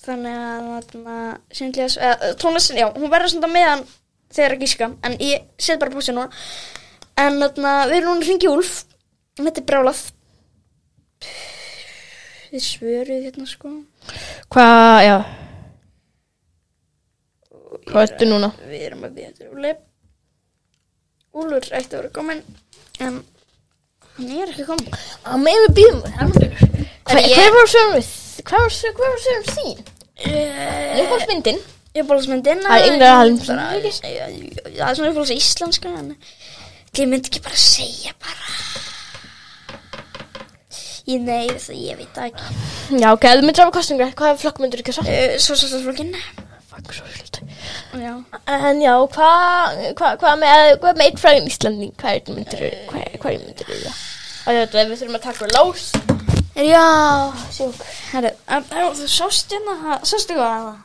Speaker 2: Þannig að, þarna, síndlíðas, uh, tónlistin, já, hún verður svona meðan þegar að gíska, en ég set bara búsið núna. En þarna, við erum núna hringi Úlf, þetta er brálað. Þið svöruð hérna sko.
Speaker 6: Hvað, já. Hvað ertu núna?
Speaker 2: Við erum að við þetta úrleip. Úlur ætti að vera komin, en hann er ekki komin.
Speaker 6: Að með við býðum Hvað
Speaker 2: ég-
Speaker 6: hver var sögum við? Hvað var sögum hver var sögum þín? Ég fórst myndin
Speaker 2: Uppáhaldsmyndin
Speaker 6: Það er Ingvar Hallgrímsson,
Speaker 2: Það er svona uppáhalds íslenska en Ég myndi ekki bara segja bara Ég nei, það ég veit það ekki
Speaker 6: Já, ok, ef þú myndir hafa kostninga Hvað flokk myndir þú kjósa?
Speaker 2: uh, Svo svo svo flokkin
Speaker 6: Fuck, svo svolítið
Speaker 2: Já
Speaker 6: En já, hvað hva, hva með, hva með eitt fræðin Íslanding? Hvað er myndir þú? Hvað hva myndir þú? Og þetta við þurfum að taka úr lás
Speaker 2: Er já, sjúk Herru, en- herru, þú sást hérna það- Sástu hvað það?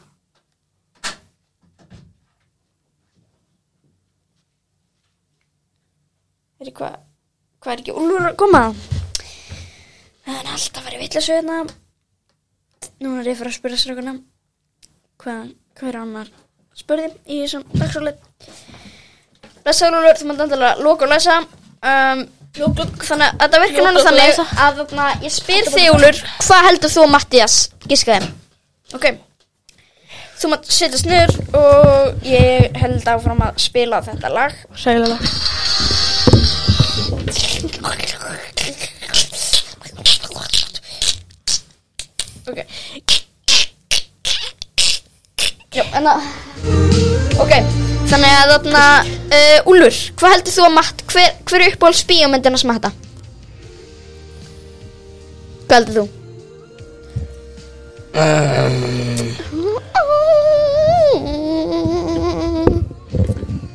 Speaker 2: Herru, hvað Hvað er ekki Úlfur að koma? Það er alltaf að vera vitlasöðna Núna er ég fyrir að spyrja strákuna Hvað, hvað er annar spurði í þessum dagsóli Blessaður Úlfur, þú mátt endilega loka og læsa um, lok, lok. Þannig að þetta virkar núna þannig að þarna, ég spyr þig Úlfur Hvað heldur þú og Mattias gískaði? Ok Þú mátt setjast niður og ég held áfram að spila þetta lag
Speaker 6: Sælulega
Speaker 2: Ok Já, en að Ok, þannig að þarna uh, Úlfur, hvað heldur þú að matt Hver, hver er uppáhalds bíómyndina sem matta? Hvað heldur þú?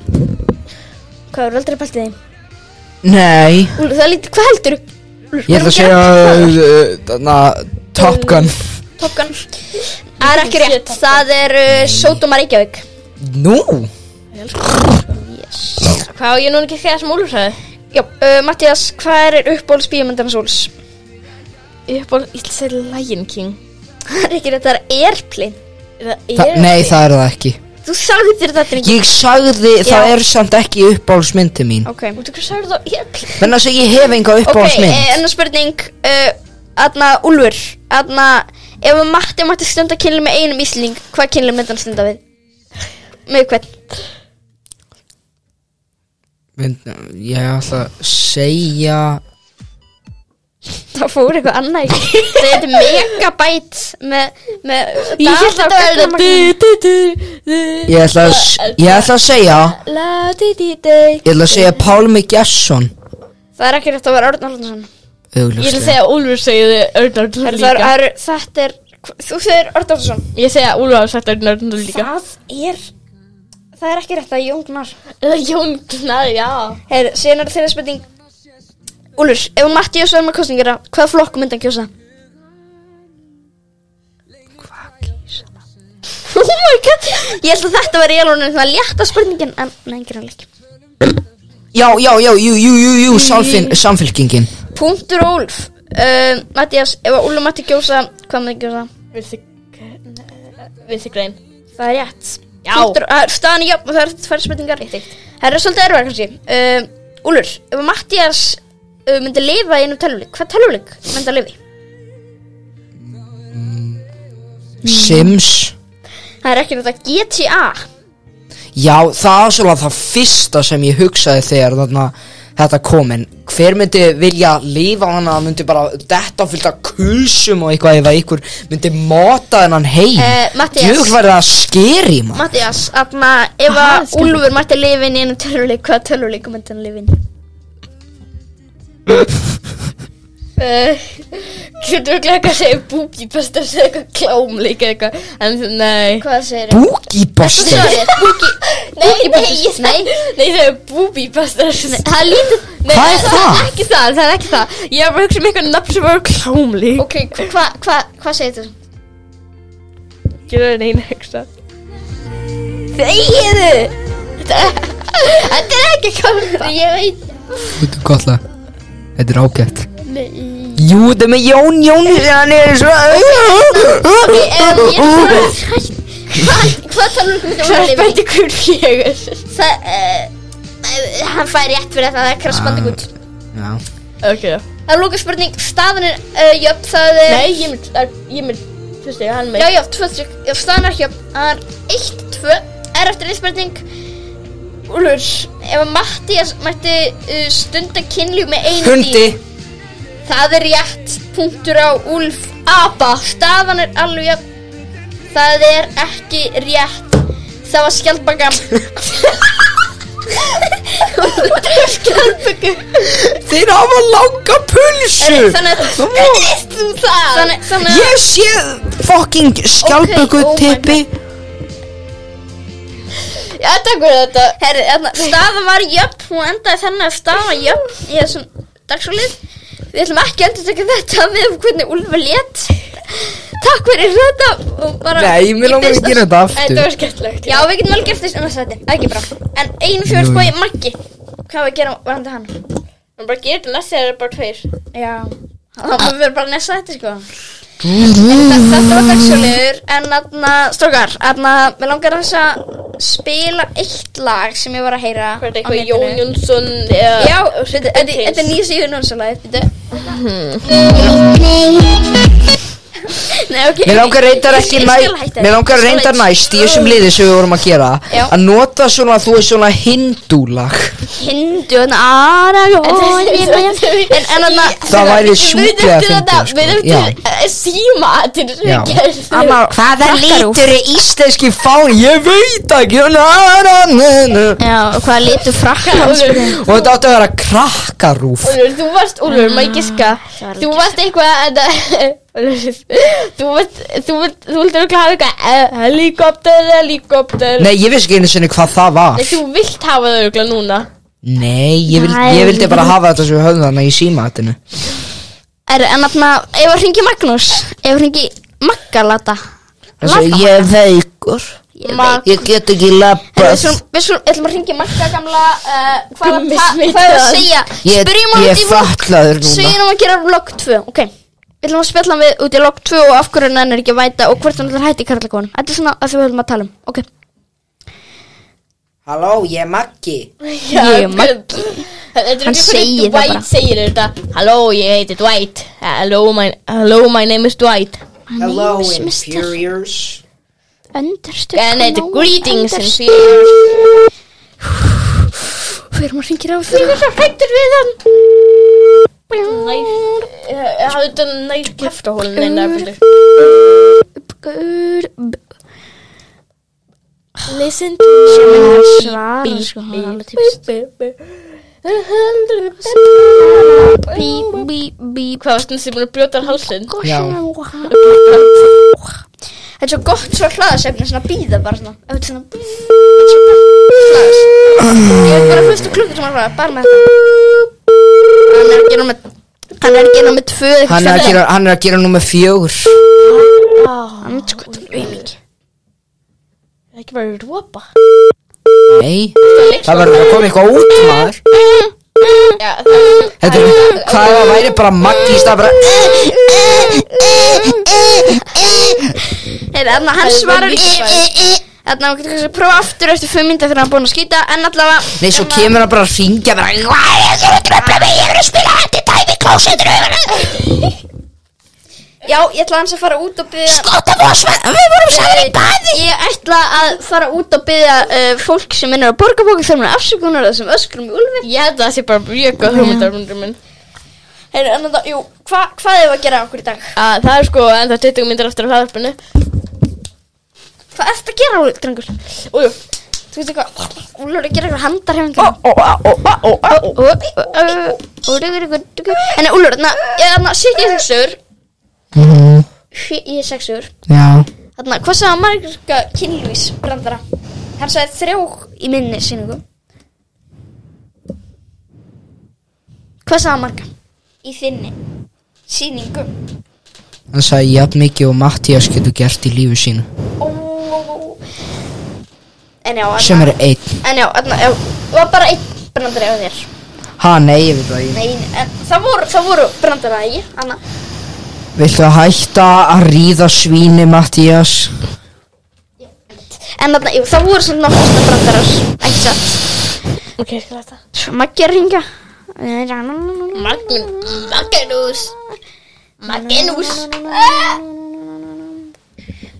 Speaker 2: Hvað er aldrei pælt í þeim?
Speaker 4: Nei,
Speaker 2: Úlfur, það er lítið, hvað heldur þú?
Speaker 4: ég ætla að segja uh, Þarna, Top Gun
Speaker 2: Tokkan Það er ekki rétt, það er uh, Sótoma Reykjavík
Speaker 4: Nú,
Speaker 6: Hvað á ég núna ekki þegar sem Úlur sagði?
Speaker 2: Já, uh, Mattias, hvað er uppbólis bíómyndarnas úls?
Speaker 6: Ég hef bara, ég ætla að segja Lion King
Speaker 2: Það er ekki rétt, það er airplane
Speaker 6: Það
Speaker 4: Þa,
Speaker 6: er
Speaker 4: nei það er það ekki
Speaker 2: Þú sagði þér þetta ekki
Speaker 4: Ég sagði, það er samt ekki uppáhaldsmyndi mín
Speaker 2: Ok,
Speaker 6: Þú hvað sagði það? Ég er
Speaker 4: Þannig að ég hef enga
Speaker 2: ok,
Speaker 4: uppáhaldsmynd
Speaker 2: eh, ennur spurning uh, Adna, Úlfur Adna, ef að Matti mætti stunda kynli með einum íslending Hvað kynli myndi hann stunda við? Með hvern?
Speaker 4: Mynd- Ég ætla að segja
Speaker 2: Það fór eitthvað annað í- Það heiti Megabæt með, með
Speaker 6: Ég held að það er það
Speaker 4: Ég ætla að, s- ég ætla að segja
Speaker 6: La di di di
Speaker 4: Ég ætla að segja Pálmi Gesson
Speaker 2: Það er ekki rétt að vera Örn Arnarsson
Speaker 6: Ég ætla að
Speaker 4: Augljóslega
Speaker 6: segja að Úlfur segði Örnardur
Speaker 2: Það
Speaker 6: líka
Speaker 2: eru, þetta er Þú segir Örn Arnarsson
Speaker 6: Ég segja að Úlfur hafa sagt Örnardur líka
Speaker 2: Það er Það er ekki rétt að Jón Gnar
Speaker 6: Eða Jón Gnar, já
Speaker 2: Heyrðu, síðan er þeirra spurning Úlur, ef Matti og Sörma kostningur Hvaða flokk myndi hann kjósa? Hvað kjósa? oh my god Ég held að þetta væri í alveg Það létta spurningin En, nei, ekki rannleik
Speaker 4: Já, já, já, jú, jú, jú, jú, samfin- samfylkingin
Speaker 2: Punktur og Úlf uh, Mattias, ef að Úlur Matti kjósa Hvað myndi hann kjósa?
Speaker 6: Vinstri grein
Speaker 2: Það er rétt Já Punktur, uh, Staðan, já, það er tvær spurningar Það er svolítið erfið kannski uh, Úlur, ef að Mattias uh, myndi lifa í einum tölvuleik Hvað tölvuleik myndi að lifa í?
Speaker 4: Sims
Speaker 2: Það er ekki þetta GTA
Speaker 4: Já, það var svolítið það fyrsta sem ég hugsaði þegar þarna þetta kom en hver myndi vilja lifa hana myndi bara detta fyllt af kulsum og eitthvað ef að ykkur myndi móta hennan heim
Speaker 2: Eh, Matthías.
Speaker 4: Jökk var það skeri maður
Speaker 2: Mattias, aðna, ef að Úlfur mætti lifin í einu töluleik, hvaða töluleiku myndi hann lifin?
Speaker 6: Eh, Getur við glæðið að segja búbí Best að segja eitthvað klámleik eða eitthvað En nei
Speaker 2: Hvað segir þið?
Speaker 4: Búkibuster
Speaker 6: Nei, nei, ég nei Nei, það er booby busters Það er lítið Nei,
Speaker 4: Hvað er það?
Speaker 6: er ekki það, það er ekki það Ég er bara að hugsa um eitthvað nafn sem var klámleik
Speaker 2: Ok, hva- hva- hva- hvað segir þið?
Speaker 6: Getur það neina hugsa
Speaker 2: Þegiðu! Þetta er ekki kampa Ég veit
Speaker 4: Þetta er gott lag Þetta er ágætt Jú, þetta er með Jón Jón Hann er svo
Speaker 2: Ef ég er hrætt Hvað töluleiku myndi
Speaker 6: Það
Speaker 2: hann lifin
Speaker 6: er
Speaker 2: í?
Speaker 6: spændi hver fjögur
Speaker 2: Það, eh, eh, hann fær rétt fyrir þetta, það er krass
Speaker 6: Ah.
Speaker 2: bandið gútt
Speaker 4: Já,
Speaker 6: Ok, já
Speaker 2: Það er lóka spurning, staðan er uh, jöfn, það er
Speaker 6: Nei, ég mynd, ég mynd, þú veist ég, hann
Speaker 2: Já,
Speaker 6: með
Speaker 2: já, tvö stygg, já, staðan er jöfn Það er eitt, tvö, er er eftir einn spurning Úlfur, ef að Mattias mætti uh, stunda kynlíf með einu
Speaker 4: Hundi
Speaker 2: dýr, Það er rétt punktur á Úlf Apa Staðan er alveg jafn. Það er ekki rétt Það var skjaldbakan Skjaldbakan
Speaker 4: Þeir hafa langa pulsu
Speaker 2: Þannig að Veist þú það? Þannig, þannig að
Speaker 4: Ég sé fucking skjálpöku
Speaker 2: oh my
Speaker 4: tippi
Speaker 2: Já, takk fyrir þetta Herri, þarna, staðan var jöfn Hún endaði þannig að staðan var jöfn Í þessum dagsfólið Við ætlum ekki að endur tekja þetta Við um hvernig Úlfur lét Takk fyrir þetta og bara-
Speaker 4: Nei, mér langar
Speaker 2: Ég
Speaker 4: að gera þetta aftur
Speaker 6: Þetta var skemmtilegt
Speaker 2: Já, við getum alveg gert þess um þess að þetta, ekki bra En einu fjór spói, Maggi Hvað var að gera varandi hann?
Speaker 6: Hún bara gerir þetta næst þegar það er bara tveir
Speaker 2: Já Það var verið bara að nessa þetta, sko En þetta- Þetta var dagsjóliður En aðna, strókar, aðna Mér langar þess að spila eitt lag sem ég var að heyra
Speaker 6: Hvað er þetta
Speaker 2: á
Speaker 6: eitthvað
Speaker 2: netinu.
Speaker 6: Jón Jónsson eða
Speaker 2: Já, þetta þetta- þetta er nýja síðan og svo lagið, býttu Nei, ok
Speaker 4: Mér langar reyndar ekki næ, Mér langar reyndar næst í þessum liði sem við vorum að gera
Speaker 2: Mm. Já.
Speaker 4: Að nota svona, þú veist svona hindúlag
Speaker 2: Hindu, hann aðra En en aðna
Speaker 4: Það væri sjúklega fyndið, sko.
Speaker 6: Við
Speaker 4: Já.
Speaker 6: erum til síma til þess
Speaker 4: Já.
Speaker 6: að gerð
Speaker 4: Hvaða lítur er íslenski fán? Ég veit ekki Og
Speaker 2: Já, hvað litur frakkar hans
Speaker 4: þetta átti að vera krakkarúf
Speaker 6: Úlfur, þú varst, Úlfur, maður giska Þú varst eitthvað þetta- Úlfur, Þú varst, þú varst, þú vildur okkur hafa eitthvað eh, Helikopter, helikopter
Speaker 4: Nei, ég vissi ekki einu sinni hvað það var
Speaker 6: Nei, þú vilt hafa það okkur núna
Speaker 4: Nei, ég, vil, ég vildi bara hafa þetta sem við höfðum þarna í símaatinu
Speaker 2: Er, en þarna, ef að ringi Magnús Ef að ringi Maggalata Lata.
Speaker 4: Ég er veikur
Speaker 2: Mag-
Speaker 4: Ég get ekki
Speaker 2: Við
Speaker 4: labbað
Speaker 2: skulum, við skulum, ætlum að ringi Magga gamla uh, Hvað
Speaker 6: Gummi
Speaker 2: er að
Speaker 6: smitaður.
Speaker 2: hvað er að segja
Speaker 4: Ég,
Speaker 2: Spyrjum hann
Speaker 4: ég
Speaker 2: út
Speaker 4: er
Speaker 2: í vlog
Speaker 4: fatlaður núna
Speaker 2: Segjum hann að gera vlog 2, ok Við ætlum að spjalla hann við út í vlog 2 og af hverju hann er ekki að væta og hvort hann ætlar að hætti karlakonum Þetta er svona að því við höfum að tala um, ok
Speaker 7: Halló, ég er Maggi
Speaker 6: Já,
Speaker 2: Ég,
Speaker 6: þetta er- Þetta er
Speaker 2: Hann
Speaker 6: ekki
Speaker 2: segir það
Speaker 6: hvernig
Speaker 2: bara.
Speaker 6: Dwight segir þetta Halló, ég heiti Dwight Hello, my, hello, my name is Dwight
Speaker 7: Hello,
Speaker 2: Name's Mr.
Speaker 7: Inferiors
Speaker 2: Understood
Speaker 6: En þetta er
Speaker 2: Hello,
Speaker 6: greetings and
Speaker 2: understood.
Speaker 6: feelings.
Speaker 2: Hver maður ringir á því?
Speaker 6: er svo hrættur við hann Hafðu þetta nægt kæftahólun einna Listen to
Speaker 2: Svara sko, hann er alveg típist
Speaker 6: Bí, bí, bí Hvað varst þetta sem búin að brjóta hann hálsinn?
Speaker 4: Já.
Speaker 2: Þetta er svo gott svo hlaðasefni svona býða bara svona Þetta er svona Hlaðas Ég er bara fullt af klukkur sem að hlaða bara með þetta Hann er að gera með Hann er að gera með tvö eitthvað
Speaker 4: Hann er að
Speaker 2: fjallið.
Speaker 4: gera, hann er að gera nummer fjögur
Speaker 2: Hann er sko auðvitað
Speaker 6: Það er ekki bara ropa
Speaker 4: Nei Það verður að koma eitthvað út maður
Speaker 6: Já, það
Speaker 4: Þetta er, hvað ef það væri bara Maggi í stað bara
Speaker 2: Hei, þannig að hann
Speaker 6: er
Speaker 2: svarar
Speaker 6: vel líka.
Speaker 2: Þannig að hann getur kannski að prófa aftur eftir 5 mynda fyrir hann er búinn að skýta En allavega
Speaker 4: Nei, svo kemur hann bara að ringja bara Hvað er það að tröfla mig? Ég verður að spila hætti tæmi klósetur
Speaker 2: Já, ég ætla hans að fara út og byggja
Speaker 4: Skota bósmann Við vorum saman í baði
Speaker 2: Ég ætla að fara út og byggja uh, fólk sem minnur á borgarbóku þörfuna afsökunar á þessum öskrum í Ulfi
Speaker 6: Ég held að það sé bara mjög góð hugmyndar hundur minn
Speaker 2: Heyrðu, en þetta, jú, hva, hvað hefur að gera okkur í dag?
Speaker 6: að Það er sko enda 20 myndir eftir af hlaðarpinu
Speaker 2: Hvað ertu að gera, Úlfur, drengur?
Speaker 6: Újú,
Speaker 2: Þú veist eitthvað, Úlfur er að gera eitthvað handarhefingar En Úlfur, þarna, ég þarna, shit, ég er sexur Shit, ég er sexur
Speaker 4: Já
Speaker 2: Þarna, hvað sagði Marga Kynlýs brandara? Hann sagði þrjó í minni sýningu Hvað sagði Marga? Í þinni sýningu
Speaker 4: Hann sagði jafn mikið og Mattias getur gert í lífu sínu
Speaker 2: Ó En já,
Speaker 4: Sem
Speaker 2: þarna-
Speaker 4: er einn
Speaker 2: en já, þarna, já var bara einn brandari á þér
Speaker 4: Ha, nei, ég veit það ég
Speaker 2: Nei, en það voru, það voru brandara, ekki? Anna
Speaker 4: Viltu að hætta að ríða svíni, Mattias?
Speaker 2: En þarna, jú, það voru svona fyrsta brandarar Ekki satt
Speaker 6: ok, ég skal þetta
Speaker 2: Svo Maggi er að ringa
Speaker 6: Magnús Magnús Magnús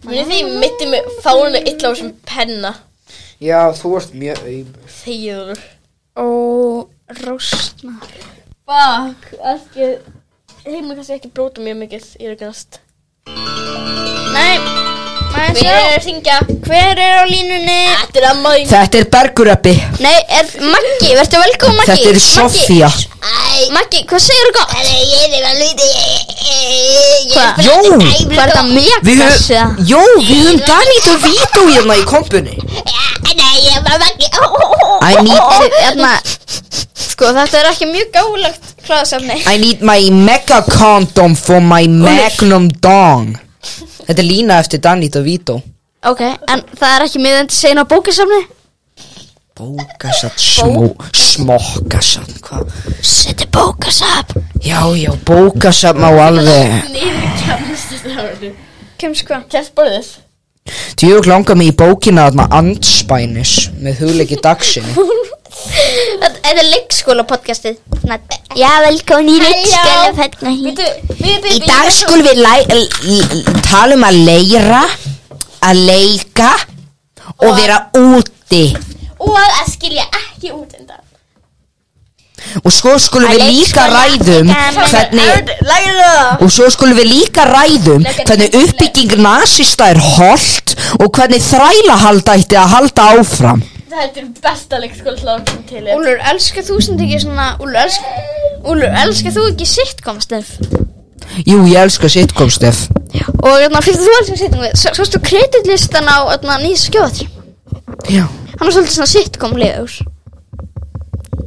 Speaker 6: Mér því mitti mig fáinu illa á sem penna
Speaker 10: Já, þú ert mjög auðvitað.
Speaker 6: Þegiður.
Speaker 2: Ó, rosna
Speaker 6: Fuck, ekki, heimur kannski ekki bróta mjög mikið, ég er ekki næst.
Speaker 2: Nei, maður
Speaker 6: Við erum
Speaker 2: sjá
Speaker 6: að syngja.
Speaker 2: Hver er á línunni?
Speaker 6: Þetta er amma þín.
Speaker 4: Þetta er berguröppi
Speaker 2: Nei, er Maggi, verður velkomin Maggi
Speaker 4: Þetta er Sofía
Speaker 2: Maggi, Maggi, hvað segir þú gott?
Speaker 11: Ég er að luti
Speaker 2: Hvað?
Speaker 4: Jó,
Speaker 2: Hvað er þetta mega
Speaker 4: við
Speaker 2: þessi?
Speaker 4: höfum Jó, við höfum Danít og Vító hérna í kompunni
Speaker 11: Nei, ég var ekki
Speaker 4: I need,
Speaker 2: Hérna, sko þetta er ekki mjög gálegt kláðsefni
Speaker 4: I need my mega condom for my magnum dong Þetta er lína eftir Danít og Vító
Speaker 2: Ok, en það er ekki miðandi segin á bókasefni?
Speaker 4: Bókasat, smó, smokkasat Hvað?
Speaker 2: Þetta er bókasafn
Speaker 4: Já, já, bókasat má alveg
Speaker 2: Kemst hvað?
Speaker 6: Kæft borðið.
Speaker 4: Djög langar mig í bókina þarna andspænis Með hugleiki dagsinni
Speaker 2: Þetta er leikskóla podcastið
Speaker 13: Já, velkomin í leikskóla
Speaker 11: hérna,
Speaker 6: Býtu, býtu, býtu.
Speaker 4: Í dag skulum við læ- l- l- tala um að leira, að leika og vera úti.
Speaker 6: Og að skilja ekki út um undan.
Speaker 4: Og svo skulum við líka ræðum hvernig,
Speaker 6: Lægir það.
Speaker 4: og svo skulum við líka ræðum hvernig uppbygging nasista er holdt og hvernig þrælahald ætti að halda áfram.
Speaker 6: Þetta er besta leikskólaslag sem til er.
Speaker 2: Úlur, elskar þú sem ekki svona Úlur, elskar, Úlur, elskar þú ekki sitcom stef?
Speaker 4: Jú, ég elska sitcom, Steff.
Speaker 2: Og hérna, fyrir þú elskar sitcom Svostu kreditlistan á hérna, nýja skjóðatri
Speaker 4: Já.
Speaker 2: Hann var svolítið svona sitcom legur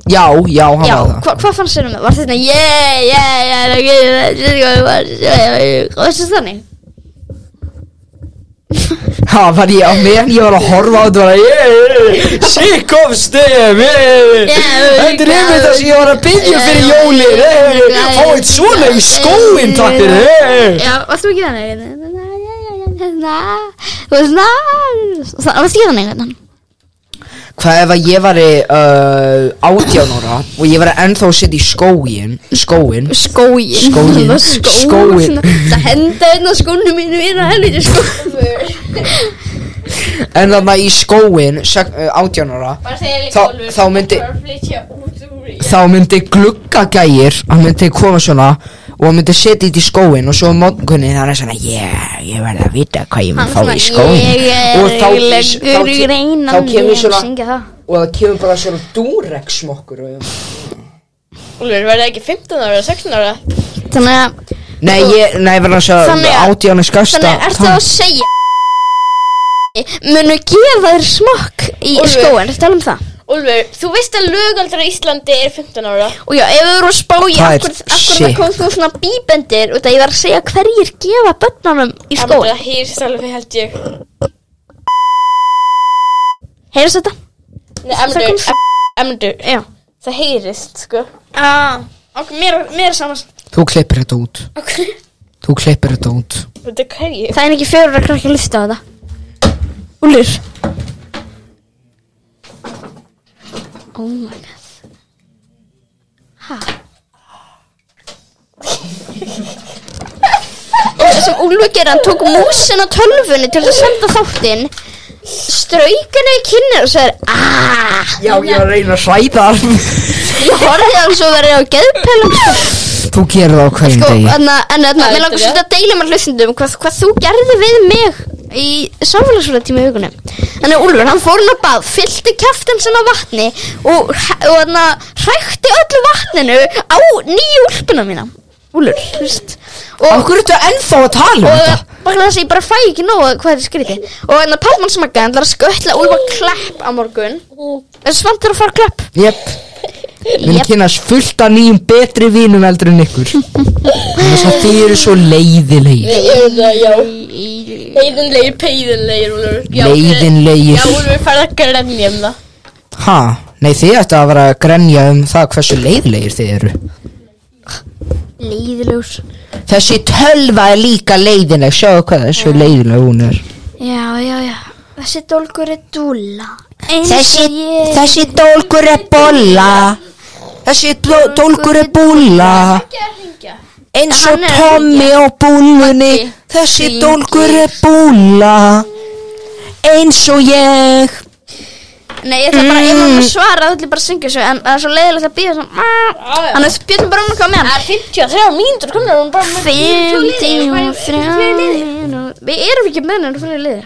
Speaker 4: Já, já, hann
Speaker 2: Já,
Speaker 4: var það.
Speaker 2: hva, hvað fannst þér um það? Var þetta yeah, yeah, yeah, yeah, yeah, yeah, yeah, yeah Hvað veist þannig?
Speaker 4: Ha, var ég á meðan ég var að horfa á þetta var að ég, sitcom, Steff, ég. Þetta er einmitt það sem ég var að byggja fyrir jólin eh, hey, Fá eitt svona í skóin takk fyrir eh, hey.
Speaker 2: Já, varst þú ekki þannig? Na, ja, ja, ja, ja, na, Þú veist, na Það varst ekki þannig hérna
Speaker 4: Hvað ef að ég var uh, átján ára Og ég var ennþá að setja í skóin Skóin
Speaker 2: Skói
Speaker 4: Skóin Skóin
Speaker 2: Það henda einn á skónu mínu inn á helviti skói
Speaker 4: En þannig að í skóin sek- uh, Átján ára
Speaker 6: Bara segja
Speaker 4: Þá-
Speaker 6: líka Úlfur.
Speaker 4: þá myndi-
Speaker 6: Þú er að flytja út úr í.
Speaker 4: Þá myndi gluggagægir Hann myndi koma svona Og hann myndi setja þetta í skóin Og svo mótkunni þannig að svona Yeah, ég verði að vita hvað ég mun fá í skóin Og þá- þá-
Speaker 2: leggur í reynan
Speaker 4: þá kemur svona-
Speaker 2: svona
Speaker 4: Og það kemur bara svona dúrex smokkur og-
Speaker 6: Úlur, verði ekki 15 ára, 16 ára?
Speaker 2: Þannig að,
Speaker 4: Nei, ég, nei, verður að
Speaker 2: Þannig
Speaker 4: segja
Speaker 2: að-
Speaker 4: átjánu skasta
Speaker 2: þannig að ertu að segja Munu gefa þér smokk í
Speaker 6: Úlfur.
Speaker 2: skóin, ertu að tala um það?
Speaker 6: Úlfur, þú veist að lögaldra í Íslandi er 15 ára.
Speaker 2: Og já, ef þú eru að spá í
Speaker 4: Það er
Speaker 2: akkur, akkur það
Speaker 4: shit.
Speaker 2: kom þú svona bíbendir út að ég var að segja hverjir gefa börnunum í
Speaker 6: Það er
Speaker 2: skóin
Speaker 6: bara hýrsalvi held ég.
Speaker 2: Heyrðu þetta?
Speaker 6: Nei, emnur, emnur.
Speaker 2: Já
Speaker 6: Það heyrist, sko.
Speaker 2: ah, ok, mér, mér saman
Speaker 4: Þú klippir þetta út Þú klippir þetta út
Speaker 6: Þetta er hverju?
Speaker 2: Það er ekki fjörur að krakka að lyfta á þetta Úlur Oh my god Ha Og það sem Úlur gerði, hann tók músin á tölfunni til þess að senda þáttinn Straukana í kinnir og sagði Aaaaah
Speaker 4: Já, ég var að reyna að hræða hann.
Speaker 2: Ég horfði að hann svo verið á geðpælum sko.
Speaker 4: Þú gerir það á hverjum
Speaker 2: sko,
Speaker 4: degi
Speaker 2: anna, en anna,
Speaker 6: Það er
Speaker 2: mér langar
Speaker 6: rétt.
Speaker 2: svolítið að deila með hlustundum hvað, hvað þú gerði við mig í samfélagsfélag tíma í hugunum Þannig að Úlfur, hann fór hann að bað, fyllti kjaftin sinna vatni og, og hann hrækti öllu vatninu á nýju úlpuna mína Úlfur, þú veist
Speaker 4: Af hverju ertu ennþá að tala um þetta?
Speaker 2: og bara þess að ég bara fæ ekki nóga hvað þetta er skrítið og þannig að Pallmann smakka hann ætlar að skötla Úlfur klepp á morgun en svant er að fara á klepp
Speaker 4: Jep Minn
Speaker 2: Jep.
Speaker 4: kynast fullt af nýjum betri vínum eldur en ykkur Þess að þið eru svo leiðilegir
Speaker 6: hérna, Heiðinlegir, peiðinlegir, Úlur. Já, Já,
Speaker 4: Leiðinlegir
Speaker 6: Úlur, farið að grenja um það.
Speaker 4: Ha, nei þið ættu að vera að grenja um það hversu leiðilegir þið eru
Speaker 2: Leiðilegur
Speaker 4: Þessi tölva er líka leiðileg Sjáðu hvað þessu leiðileg hún er
Speaker 2: Já, já, já Þessi dólgur er dúlla Eins
Speaker 4: Þessi,
Speaker 2: og ég
Speaker 4: þessi dólgur er bolla Þessi dó- dólgur er búlla Eins og
Speaker 2: Hann er að
Speaker 4: Tommy á búllunni Þessi dólgur er búlla Eins og ég
Speaker 2: Nei, ég ætla bara, ef hann svara, þá ætla ég bara að syngja svo En það er svo leiðilegt að býða svona Þannig að bjöndum bara um að koma með hann
Speaker 6: 53 mínútur komnar hún bara með
Speaker 2: 50 og 3 Við erum ekki með hennar fyrir liði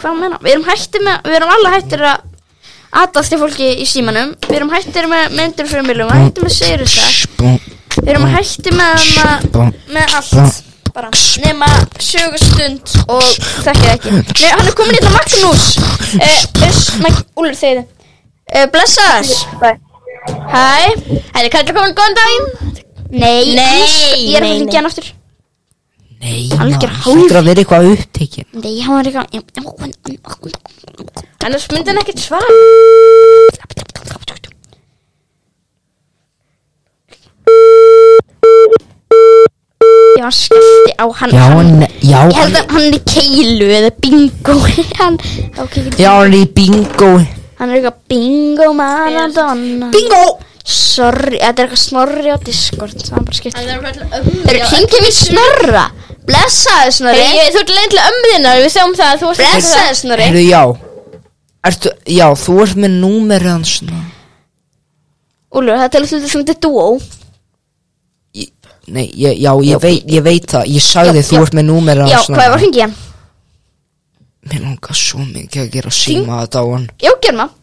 Speaker 2: Hvað meina? Við erum hættir með, við erum alla hættir að Atast til fólki í símanum Við erum hættir með myndir fyrir miljum Við erum hættir með Seyrusa Við erum hættir með hana Með allt bara Nema sögustund Og þekkið ekki Nei, hann er komin hérna Magnús eh, Öss, Mag Úlur þeir eh, Blessaðar Hæ
Speaker 6: Hætti kallar komin góðan daginn
Speaker 2: Nei,
Speaker 6: Nei,
Speaker 2: ég er að
Speaker 6: nei, nei.
Speaker 2: hringja hann aftur
Speaker 4: Nei,
Speaker 2: Algjör
Speaker 4: maður,
Speaker 2: hálf.
Speaker 4: hlýtur að vera eitthvað upptekinn
Speaker 2: Nei, hann var eitthvað
Speaker 6: Annars myndi hann ekkert svara
Speaker 2: Já, hann skellti á hann
Speaker 4: Já,
Speaker 2: hann,
Speaker 4: hann, já,
Speaker 2: Ég held að hann er í keilu eða bingo Hann, ok, ekki-
Speaker 4: já, hann er í bingo
Speaker 2: hann er eitthvað bingo Maradona
Speaker 4: Bingo!
Speaker 2: Sorry, þetta er eitthvað snorri á Discord Það er bara skipt
Speaker 6: Það er bara ömmu
Speaker 2: Þeir hringja við snorra Blessaðu snorri
Speaker 6: Þú ert leiðin til ömmu þinnar Við sjáum það að þú hérna. varst að segja
Speaker 2: Blessaðu snorri
Speaker 4: Heyrðu, já Ertu, já, þú ert með númerið hans nú.
Speaker 2: Úlur, það er til að hluta sem þetta er duo
Speaker 4: Ég- Nei, ég, já, ég, veit, ég veit það Ég sagði
Speaker 2: Já,
Speaker 4: þú
Speaker 2: já.
Speaker 4: ert með númerið
Speaker 2: Já,
Speaker 4: hans nú.
Speaker 2: hvað var hringið hann?
Speaker 4: Mér langar svo mikið að gera síma þetta á hann
Speaker 2: Já, gerum það
Speaker 6: það.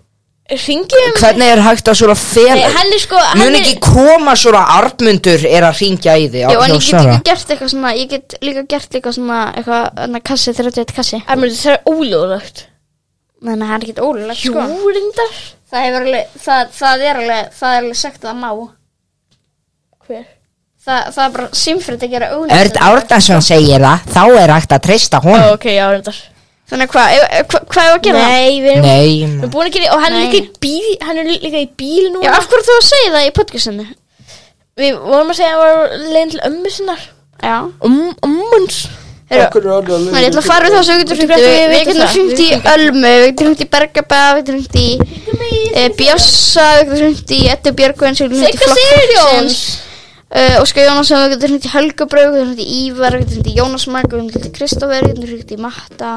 Speaker 6: Hringi um
Speaker 4: Hvernig er hægt að svona fel
Speaker 6: Nei, Hann er sko hann
Speaker 4: Mun
Speaker 6: er-
Speaker 4: ekki koma svona Arnmundur er að ringja í þig á-
Speaker 2: Já, en ég
Speaker 4: hjá
Speaker 2: get
Speaker 4: Snorra.
Speaker 2: líka gert eitthvað svona Ég get líka gert eitthvað svona Eitthvað, þannig að kassi, 31 kassi
Speaker 6: Armur, Það er óljóðlegt
Speaker 2: Þannig að það er ekkert ólulegt,
Speaker 6: Jú,
Speaker 2: sko
Speaker 6: reyndar
Speaker 2: Það hefur alveg, það, það er alveg, það er alveg sagt að það má
Speaker 6: Hver?
Speaker 2: Það, það er bara simfrið að gera
Speaker 4: Örd
Speaker 2: auðvitað
Speaker 4: Árnason segir það Þá er hægt að treysta
Speaker 6: Ó,
Speaker 4: honum
Speaker 6: Ok, já, reyndar
Speaker 2: Þannig að hvað, ef- ef- hvað hva hefur að gera það?
Speaker 6: Nei, við erum
Speaker 4: Nei,
Speaker 6: Við
Speaker 4: maður.
Speaker 6: erum búin að gera Og hann er
Speaker 2: Nei.
Speaker 6: líka í bíl Hann er líka í bíl
Speaker 2: Já,
Speaker 6: núna
Speaker 2: af hverju þú að segja það í podcastinu?
Speaker 6: Við vorum að segja að hann var leiðin til ömmu sinnar
Speaker 2: Já
Speaker 6: Ömmuns
Speaker 2: Heyrðu, Nei, ég ætla að fara við það sem við getum hringt í.
Speaker 6: Við-
Speaker 2: Við-
Speaker 6: við
Speaker 2: Við getum
Speaker 6: það.
Speaker 2: hringt í Ölmu, við getum hringt í Bergaba, við getum hringt í eh, Bjössa, við getum hringt í Eddu Björgvins, við getum hringt í
Speaker 6: Sigga
Speaker 2: Flokkfólksins,
Speaker 6: Sigurjóns
Speaker 2: eh, Óskar Jónasson, við getum hringt í Helgabröð, við getum hringt í Ívar, við getum hringt í Jónas Mæk, við getum hringt í Kristófer, við getum hringt í Matta,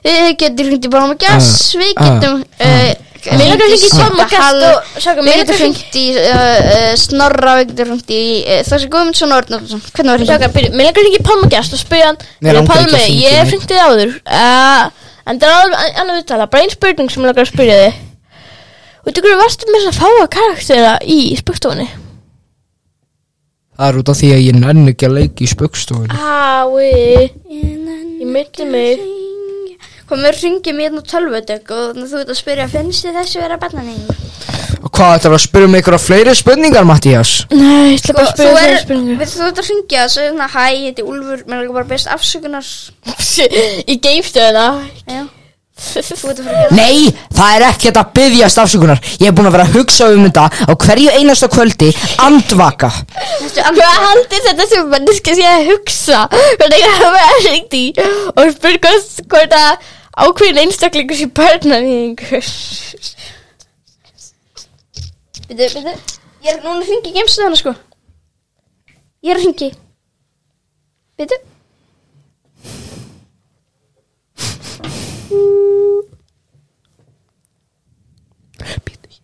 Speaker 2: Eh, við getum hringt í Bárma Gess, við getum... eh,
Speaker 6: Mér langar að hringi í
Speaker 2: Sigga
Speaker 6: Tomma
Speaker 2: Hall,
Speaker 6: Gast og Sjaka,
Speaker 2: Við
Speaker 6: mér
Speaker 2: getum
Speaker 6: langar að hringi
Speaker 2: hringt í eh, eh, Snorra, við getum hringt í eh, Þorstein Guðmundsson og Örn Örnarsson. Hvernig var hringt?
Speaker 6: Sjaka, byrju, mér langar að hringi í Palma Gast og spyrja hann
Speaker 4: Mér
Speaker 6: "Heyrðu,
Speaker 4: langar ekki að um
Speaker 6: Pálmi,
Speaker 4: hringja í
Speaker 6: ég
Speaker 4: neinn."
Speaker 6: hringti þig áður uh, En það er alveg annað viðtala Bara einn spurning sem ég langar að spyrja þig Þú veitur hverju varstu með þess að fáa karaktera í spöktofunni?
Speaker 4: Það er út af því að ég nenni ekki að leika í spöggstofunni
Speaker 2: Ah.
Speaker 6: Ái, ég myndi mig
Speaker 2: Hvað með ringjum í hérna tölvudögg og þú ert að spyrja, finnst þið þessi vera barnaningur?
Speaker 4: Og Hvað ætlar að spyrja mig einhverja fleiri spurningar, Mattías?
Speaker 6: Nei, ég ætla
Speaker 2: Sko,
Speaker 6: bara
Speaker 2: þú
Speaker 6: að spyrja
Speaker 2: er,
Speaker 6: þess að spurningu
Speaker 2: við þú ert að ringja og segja svona, hérna, hæ, ég heiti Úlfur, mér er bara best afsökunar.
Speaker 6: Í geimstöðuna
Speaker 2: Já.
Speaker 6: Þú
Speaker 2: Þú ert að fara að gera
Speaker 4: Nei, það er ekkert að byggjast afsökunar Ég hef búin að vera að hugsa um þetta á hverju einasta kvöldi andvaka
Speaker 2: þetta
Speaker 6: Hvað
Speaker 2: andra.
Speaker 6: haldir þetta sem manneski sé að hugsa hvernig það var að hringt í og spurgast hvort að ákveðin einstaklingur sé barnaníðingur
Speaker 2: Bíddu, bíddu. Ég er núna að ringja í gemstöðuna, sko. Ég er að ringja. Býtu.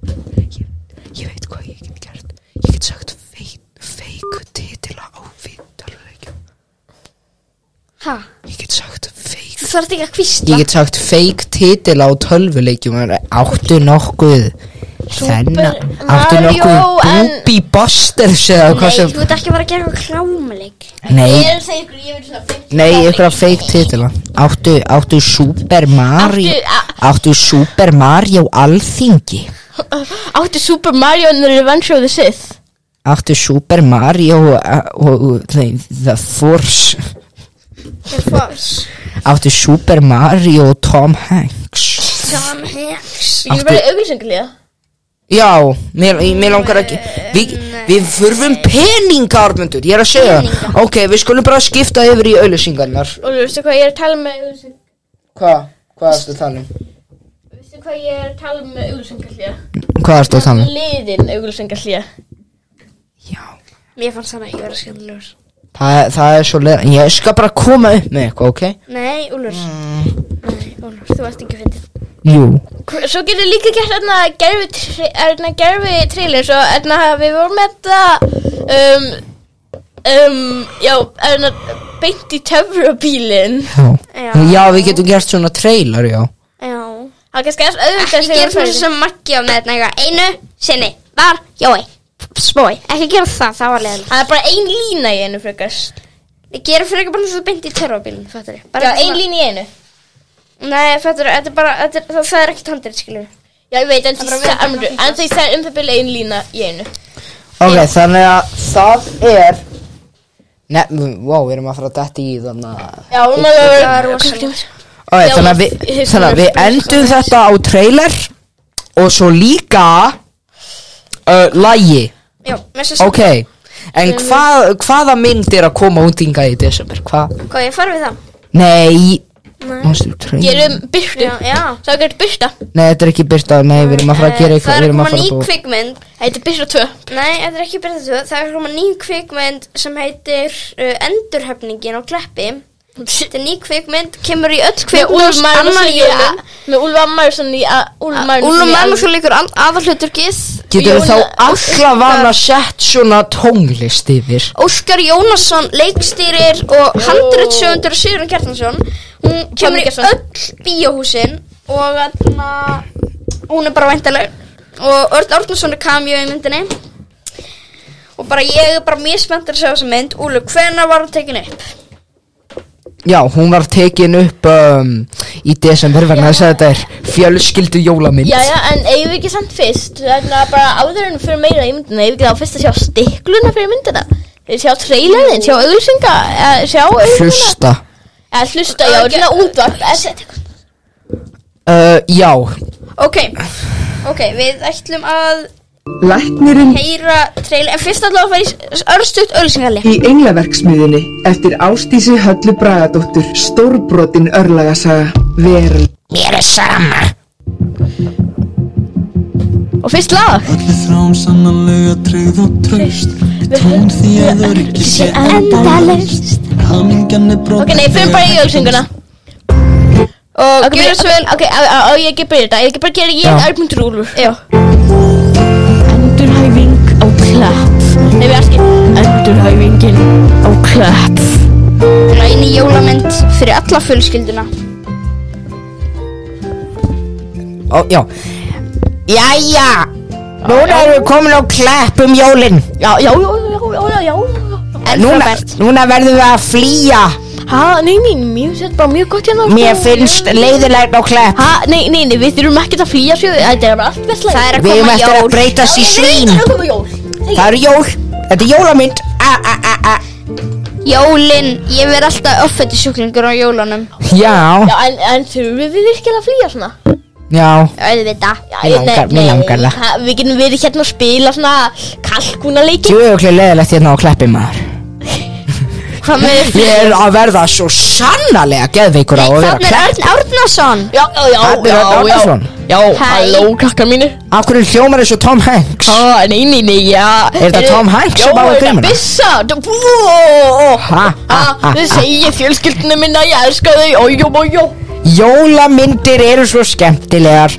Speaker 7: Ég veit hvað ég get gert Ég get sagt feik, feik titila á vittarleikjum
Speaker 2: Hæ?
Speaker 7: Ég get sagt feik
Speaker 2: Þú þarf ekki að kvista.
Speaker 4: Ég get sagt fake titil á tölvuleikjum en Áttu nokkuð Þennan Áttu
Speaker 6: Mario
Speaker 4: nokkuð
Speaker 6: en-
Speaker 4: Booby Busters eða
Speaker 2: Nei,
Speaker 4: hvað sem
Speaker 2: þú ert ekki að fara að gera eitthvað klámuleik.
Speaker 4: Nei,
Speaker 6: er það ykkur, ég veit það
Speaker 4: nei, einhverja fake titila Áttu, áttu Super Mario
Speaker 6: Áttu-
Speaker 4: Áttu Super Mario alþingi
Speaker 6: Átti Super Mario and the Revenge of the Sith
Speaker 4: Áttu Super Mario uh, og, og nei, The Force
Speaker 2: Það er fars.
Speaker 4: Áttu Super Mario og Tom Hanks
Speaker 2: Tom Hanks.
Speaker 6: Ég er bara auðvilsengulega
Speaker 4: Já, mér, mér langar ekki Við, við þurfum peninga, Armundur Ég er að segja það Ok, við skulum bara skipta yfir í auðlýsingarnar
Speaker 6: Og þú veistu hvað ég er að tala með auðvilsengulega
Speaker 4: Hvað? Hvað erstu að tala um?
Speaker 6: Veistu hvað ég er að tala með auðvilsengulega
Speaker 4: Hvað erstu að tala um?
Speaker 6: Liðin auðvilsengulega
Speaker 4: Já
Speaker 2: Mér fannst hann ekki vera skemmtilegur.
Speaker 4: Það, er- það er svo leið Ég skal bara koma upp með eitthvað, ok?
Speaker 6: Mm.
Speaker 2: Nei, Úlfur. Nei, Úlfur, þú ert ekki fyndið.
Speaker 4: Jú
Speaker 6: hv- svo getur líka gert hérna gerfi, tri- hérna gerfi trailer svo hérna við vorum með þetta um, um, já, hérna beint í töfrabílinn
Speaker 4: Já. já, við getum gert svona trailer, já
Speaker 2: Já
Speaker 6: það er kannski auðvitað
Speaker 2: Ekki gera svona sem Maggi á með þetta eitthvað. Einu sinni var Jói Spói Ekki gera það, það var leðilegt
Speaker 6: það er bara ein lína í einu frekast
Speaker 2: Ég gera fyrir eitthvað bara svo beint í törfabílinn, fattur ég
Speaker 6: já, ein lína í einu
Speaker 2: Nei, fattur ég, þetta er bara, þetta er, það, það er ekkert handrið, skilur
Speaker 6: já, ég veit, en því sa- en en því það er um það byrja ein lína í einu
Speaker 4: Ok, þannig að það er Nefnum, wow, við erum að fara að detta í þannig að
Speaker 6: já, hún er það er rosalega
Speaker 4: Ok,
Speaker 6: Já,
Speaker 4: þannig að
Speaker 6: ég-
Speaker 4: við,
Speaker 6: ég-
Speaker 4: þannig að við endum þetta á trailer Og svo líka uh, Lægi
Speaker 2: Já, mér svo
Speaker 4: Ok, en hvað, hvaða mynd er að koma út hingað í desember? Hvað?
Speaker 2: Hvað, ég fari við það?
Speaker 4: Nei Manstu trailer?
Speaker 6: gerum byrtu
Speaker 2: Já, já
Speaker 6: það um er gert byrta
Speaker 4: Nei, þetta er ekki byrta Nei, við erum að fara að
Speaker 2: Eh, Það
Speaker 4: gera eitthvað Við
Speaker 2: er að
Speaker 4: erum
Speaker 2: koma ný
Speaker 4: að fara að búa
Speaker 2: kvikmynd
Speaker 6: þetta er byrta 2
Speaker 2: Nei, þetta er ekki byrðið þú Það er að koma ný kvikmynd sem heitir uh, Endurhöfningin á Kleppi Þetta er ný kvikmynd, kemur í öll
Speaker 6: með
Speaker 2: kvikmynd
Speaker 6: Úlfar
Speaker 2: annar jólum
Speaker 6: Magnússon með Úlfar Magnússon í Úlfar
Speaker 2: Úlfur Magnússon leikur aðalhuturkið
Speaker 4: Getur við
Speaker 6: Jóna-
Speaker 4: þá allavega sett svona tónlist yfir?
Speaker 2: Óskar Jónasson leikstýrir og handritsjöfundur Sigurinn Kjartansson hún kemur í
Speaker 6: Kjartansson.
Speaker 2: öll bíóhúsin og þarna hún er bara væntaleg og Örn Árnason er kamjó í myndinni og bara ég er bara mjög spenntur að sjá þessa mynd Úlu, hvenær var hún tekin upp?
Speaker 4: Já, hún var tekin upp um, í desember vegna þess að þetta er fjölskyldu jólamynd
Speaker 6: Já, já, en eigum við ekki samt fyrst Þannig að bara áður en fyrir meira í myndina Eigum við ekki þá fyrst að sjá stikluna fyrir myndina Sjá trailerin, sjá auglýsinga eh, Sjá auglýsinga
Speaker 4: Hlusta
Speaker 6: Eða hlusta, já, svona útvarp eh,
Speaker 4: uh, Já,
Speaker 2: Ok, ok, við ætlum að
Speaker 12: Læknirinn
Speaker 2: heyra trailer, en fyrst allavega að fara í örstuðt ölsingalli
Speaker 12: í englaverksmiðinni eftir Ástísi Höllu Bragadóttur stórbrotin örlagasaga veröld
Speaker 6: Og fyrst lag
Speaker 10: Allir þrám sannanlega tryggð og tröst Tón því að öryggi sé endalaust Hamingjan er brot
Speaker 6: Ok, nei, fyrir bara í auglýsinguna
Speaker 2: og okay,
Speaker 6: Ok, ok,
Speaker 2: gjöra svo vel
Speaker 6: ok, á- á- á ég ekki að byrja þetta Ég ekki bara að gera ég örmyndur úlur Já
Speaker 14: Endurhæfing á klapp
Speaker 6: Nei, við aski
Speaker 14: Endurhæfingin á klapp
Speaker 2: einu jólamynd fyrir alla fullskilduna
Speaker 4: ó, já Jæja Núna erum við komin á klepp um jólin
Speaker 6: Já, já, já, já, já, já, já
Speaker 4: núna, núna verðum við að flýja
Speaker 6: Ha, nei, nei, mér finnst þetta bara mjög gott hérna
Speaker 4: Mér
Speaker 6: sko.
Speaker 4: finnst leiðilegt á klepp
Speaker 6: Ha, nei, nei, nei, við þurfum ekkert að flýja svo Þetta er bara allt vestlæg
Speaker 2: Það er að
Speaker 4: Við erum
Speaker 2: koma
Speaker 4: eftir að
Speaker 2: jól
Speaker 4: breytast í svín
Speaker 6: Það er að koma jól
Speaker 4: Það eru jól Þetta er jólamynd a, a, a, a.
Speaker 2: Jólin, ég verð alltaf offætti sjúklingur á jólunum
Speaker 4: Já,
Speaker 6: Já, en, en þurfum við virkilega að flýja svona?
Speaker 4: já
Speaker 2: Auðvitað
Speaker 4: Mig langar- mig langar það.
Speaker 6: það Við getum verið hérna að spila svona kalkunaleiki
Speaker 4: Djöfugli leiðilegt hérna á kleppi maður
Speaker 2: Hvað með
Speaker 4: Ég er að verða svo sannalega geðveikur á að vera
Speaker 2: Þannig er
Speaker 4: klepp
Speaker 2: Örn Árnason
Speaker 6: Já, já, já,
Speaker 4: Arnur
Speaker 6: já,
Speaker 4: Örn
Speaker 6: já,
Speaker 4: Árnason.
Speaker 6: já, halló krakkar mínu
Speaker 4: Af hverju hljómar þessu Tom Hanks?
Speaker 6: ah, Nei, nei, nei, já
Speaker 4: Er þetta Tom Hanks
Speaker 6: Já,
Speaker 4: sem á að
Speaker 6: er þetta
Speaker 4: grímuna?
Speaker 6: byssa Þetta- Vó,
Speaker 4: Ha, ha, ha,
Speaker 6: ah,
Speaker 4: ha.
Speaker 6: Þau segja fjölskyldinu minna, ég elska þau Ójó, ójó
Speaker 4: Jólamyndir eru svo skemmtilegar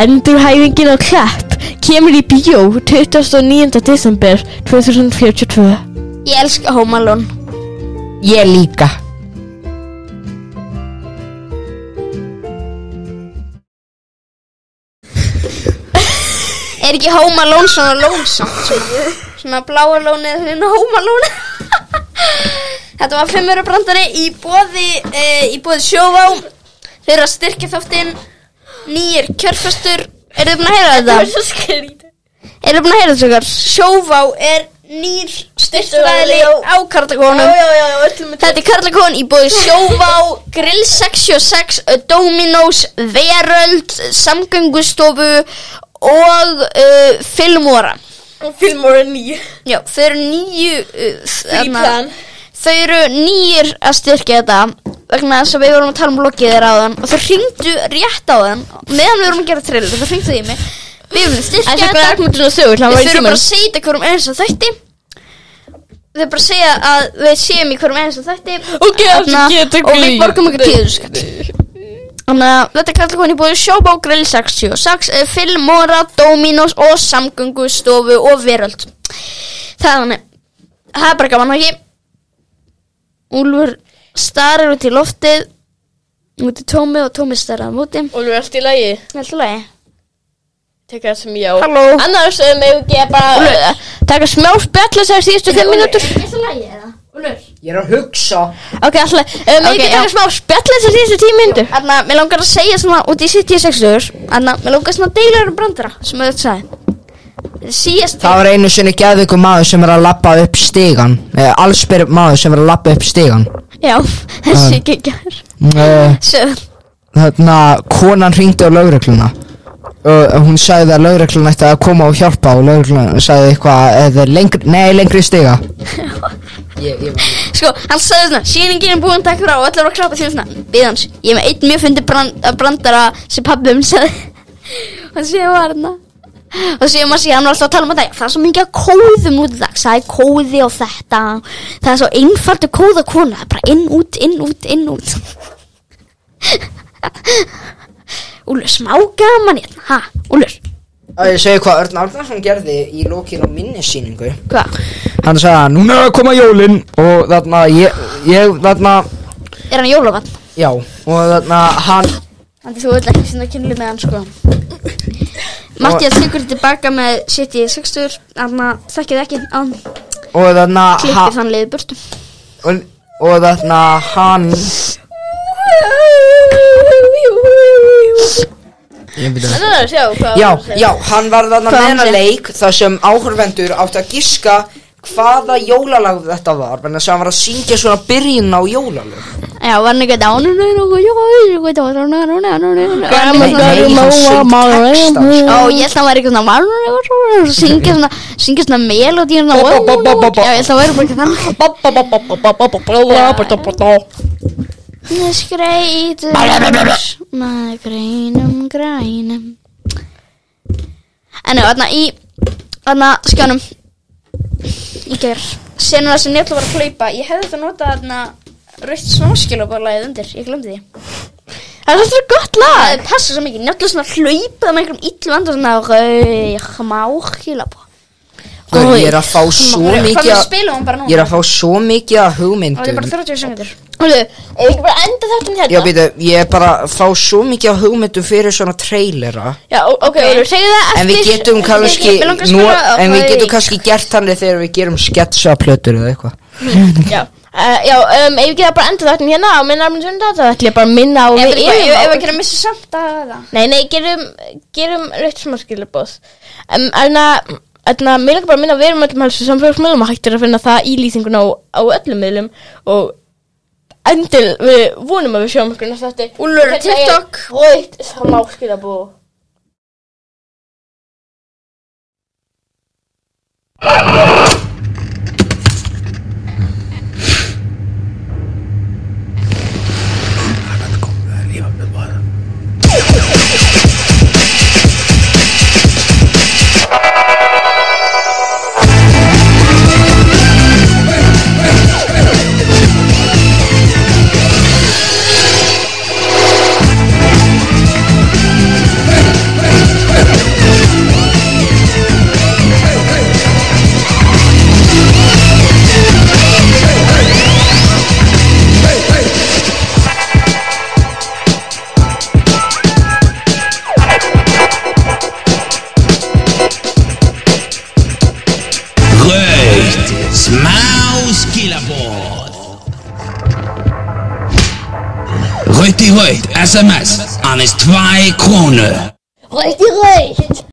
Speaker 3: Endurhæfingin á Klepp kemur í bíó 29. desember 2042.
Speaker 2: Ég elska Home Alone
Speaker 4: Ég líka
Speaker 2: Er ekki Home Alone svona lónsamt? Svona, svona bláa lóni eða svona Home Alone Þetta var fimmur brandari í bóði e, í bóði sjóvá Þeir eru að styrkja þáttinn Nýjir kjörfestur Eru þið búin að heyra þetta?
Speaker 6: Það er svo skrítið
Speaker 2: Eru þið búin að heyra þetta okkar? Sjóvá er nýr styrstaðli á
Speaker 6: Já,
Speaker 2: kartakónum
Speaker 6: já, já, já, öllum
Speaker 2: Þetta er Karlakón í bóði Sjóvá, Grill 66, Dominos, Veröld, Samgöngustofu og uh, Filmora.
Speaker 6: er Filmora 9
Speaker 2: Já, þau eru nýju... Uh, þarna-
Speaker 6: plan.
Speaker 2: Þau eru nýjir að styrkja þetta vegna þess að við vorum að tala um bloggið þeirra á þann og þau hringdu rétt á þann meðan við vorum að gera trailer, þau hringdu í mig. Við vorum að styrkja
Speaker 6: Það er
Speaker 2: þetta.
Speaker 6: Arnmundur og Sögur, hann
Speaker 2: Við
Speaker 6: var í
Speaker 2: þurfum bara
Speaker 6: tíman
Speaker 2: að segja þetta hverjum eins og þætti Við bara að segja að við séum í hverjum eins og þætti
Speaker 6: Ok,
Speaker 2: Þarna-
Speaker 6: aftur getur
Speaker 2: Og við
Speaker 6: glýtt.
Speaker 2: borgum okkur tíður skatt Þannig að þetta er kallakon í búið Sjóbá Grill 66, eh, Filmora, Dominos og Samgöngustofu og Veröld. Það er þannig. Það er bara gaman og ekki. Úlfur starir út í loftið, út í tómi og tómi starir á móti.
Speaker 6: Og nú er allt í lagi
Speaker 2: Alltaf lagi.
Speaker 6: Tekka það sem já
Speaker 2: Halló.
Speaker 6: Annars eh, megum við ekki bara eh, Taka smá spjall þessar síðustu fimm mínútur
Speaker 4: Ég er að hugsa
Speaker 6: Ok, alltaf Megum við
Speaker 2: Ok,
Speaker 6: ekki
Speaker 2: já.
Speaker 6: taka smá spjall þessar síðustu tíu mínútur
Speaker 2: Þannig að mér langar að segja svona út í sitt í sextugur Þannig að mér langar svona deilur um brandara sem auðvitað sagði Síðast
Speaker 4: Það var einu sinni geðveikur maður sem er að lappa upp stígan eh, Allsbyr maður sem er að lappa upp stígan
Speaker 2: Já, þessi ekki gær
Speaker 4: eh,
Speaker 2: Svo-
Speaker 4: Þarna, konan hringdi á lögregluna uh, Hún sagði að lögreglan ætti að koma og hjálpa Og lögreglan sagði eitthvað eða lengri, Nei, lengri stiga
Speaker 2: Sko, hann sagði svona Sýningin er búin, takk fyrir á og allir var að klappa því svona Við hans, ég er með einn mjög fundi brand, eh, brandara sem pabbi um sagði Og síðan var hann Og síðan maður síðan hann var alltaf að tala um þetta Það er svo mikið að kóðum út í dag Það er kóði og þetta Það er svo einfaldu kóða kona Það er bara inn, út, inn, út, inn, út Úlur, smá gaman hérna Ha, Úlur,
Speaker 4: Og ég segi hvað Örn Arnarsson gerði í lokin á minnisýningu
Speaker 2: hvað?
Speaker 4: Hann sagði að núna er að koma jólin Og þarna, ég, ég þarna
Speaker 2: Er hann jólavann?
Speaker 4: Já, og þarna, hann
Speaker 2: Þannig þú vill ekki sinna kynlu með hann sko Mattias tekur tilbaka með sitt í sextur Þannig að þekkið ekki án
Speaker 4: Og þarna,
Speaker 2: klippið þann liðið burtu
Speaker 4: og, og þarna hann Ég byrja
Speaker 6: Annars, já, hvað
Speaker 4: Já,
Speaker 6: var að segja?
Speaker 4: já, hann var þarna
Speaker 2: Hvað
Speaker 4: með
Speaker 2: hann
Speaker 4: hennar
Speaker 2: segir?
Speaker 4: leik þar sem áhörvendur átti að giska hvaða jólalag þetta var en þess að hann var að syngja svona byrjun á jólalag
Speaker 2: Já, var hann eitthvað dánun Ó,
Speaker 4: Nei, nei, hann söng textan
Speaker 2: ég held að hann væri eitthvað svona og syngja svona syngja svona melodí Já, ég held að hann væri bara eitthvað þannig Skreitur með grænum grænum En já, þarna í þarna skjánum í ger senur það sem njötla var að hlaupa ég hefði þetta notað þarna rautt smáskilabalagið undir, ég glemdi því Það er þetta gott lag Það passa svo mikið, njötla svona hlaupa með einhverjum illu vandur svona rauð smáskilabal
Speaker 4: Guð, Ég er að fá svo
Speaker 2: Hvað
Speaker 4: mikið
Speaker 2: með
Speaker 4: að-
Speaker 2: spilum hún bara
Speaker 4: Ég er
Speaker 2: núna?
Speaker 4: að fá svo mikið að
Speaker 2: Það er bara
Speaker 4: hugmyndum
Speaker 2: 30 sekundur
Speaker 6: Eða ekki bara enda þetta
Speaker 4: Já,
Speaker 6: hérna
Speaker 4: býtu, ég er bara að fá svo mikið að hugmyndum fyrir svona trailera
Speaker 6: Já, ó- ok, Úlfur, segðu það eftir
Speaker 4: En við getum kannski
Speaker 2: Mig langar að
Speaker 4: nú,
Speaker 2: spila-
Speaker 4: En við
Speaker 2: hvað er
Speaker 4: getum
Speaker 2: í?
Speaker 4: kannski gert þannig þegar við gerum sketsa plötur eða eitthvað
Speaker 6: Já, uh, já um, ef við getum bara enda þetta hérna á minn arminn söndag þá ætlum ég bara að minna á
Speaker 2: Ef
Speaker 6: við
Speaker 2: við- ef- ef
Speaker 6: á-
Speaker 2: við gerum missi samt að það
Speaker 6: Nei, nei, gerum, gerum rétt smá skilabóð um, En að Þannig að mér langar bara að minna að við erum öllum helstu samfélagsmiðlum og hægt er að finna það í lýsingun á, á öllum miðlum og endil við vonum að við sjáum ykkur næst eftir
Speaker 2: Úlfur, TikTok.
Speaker 6: hérna Rauðt smáskilabóð
Speaker 10: Rauðt smáskilaboð Rauðt í rauðt, sms, aðeins 2 krónur
Speaker 6: Rauðt í rauðt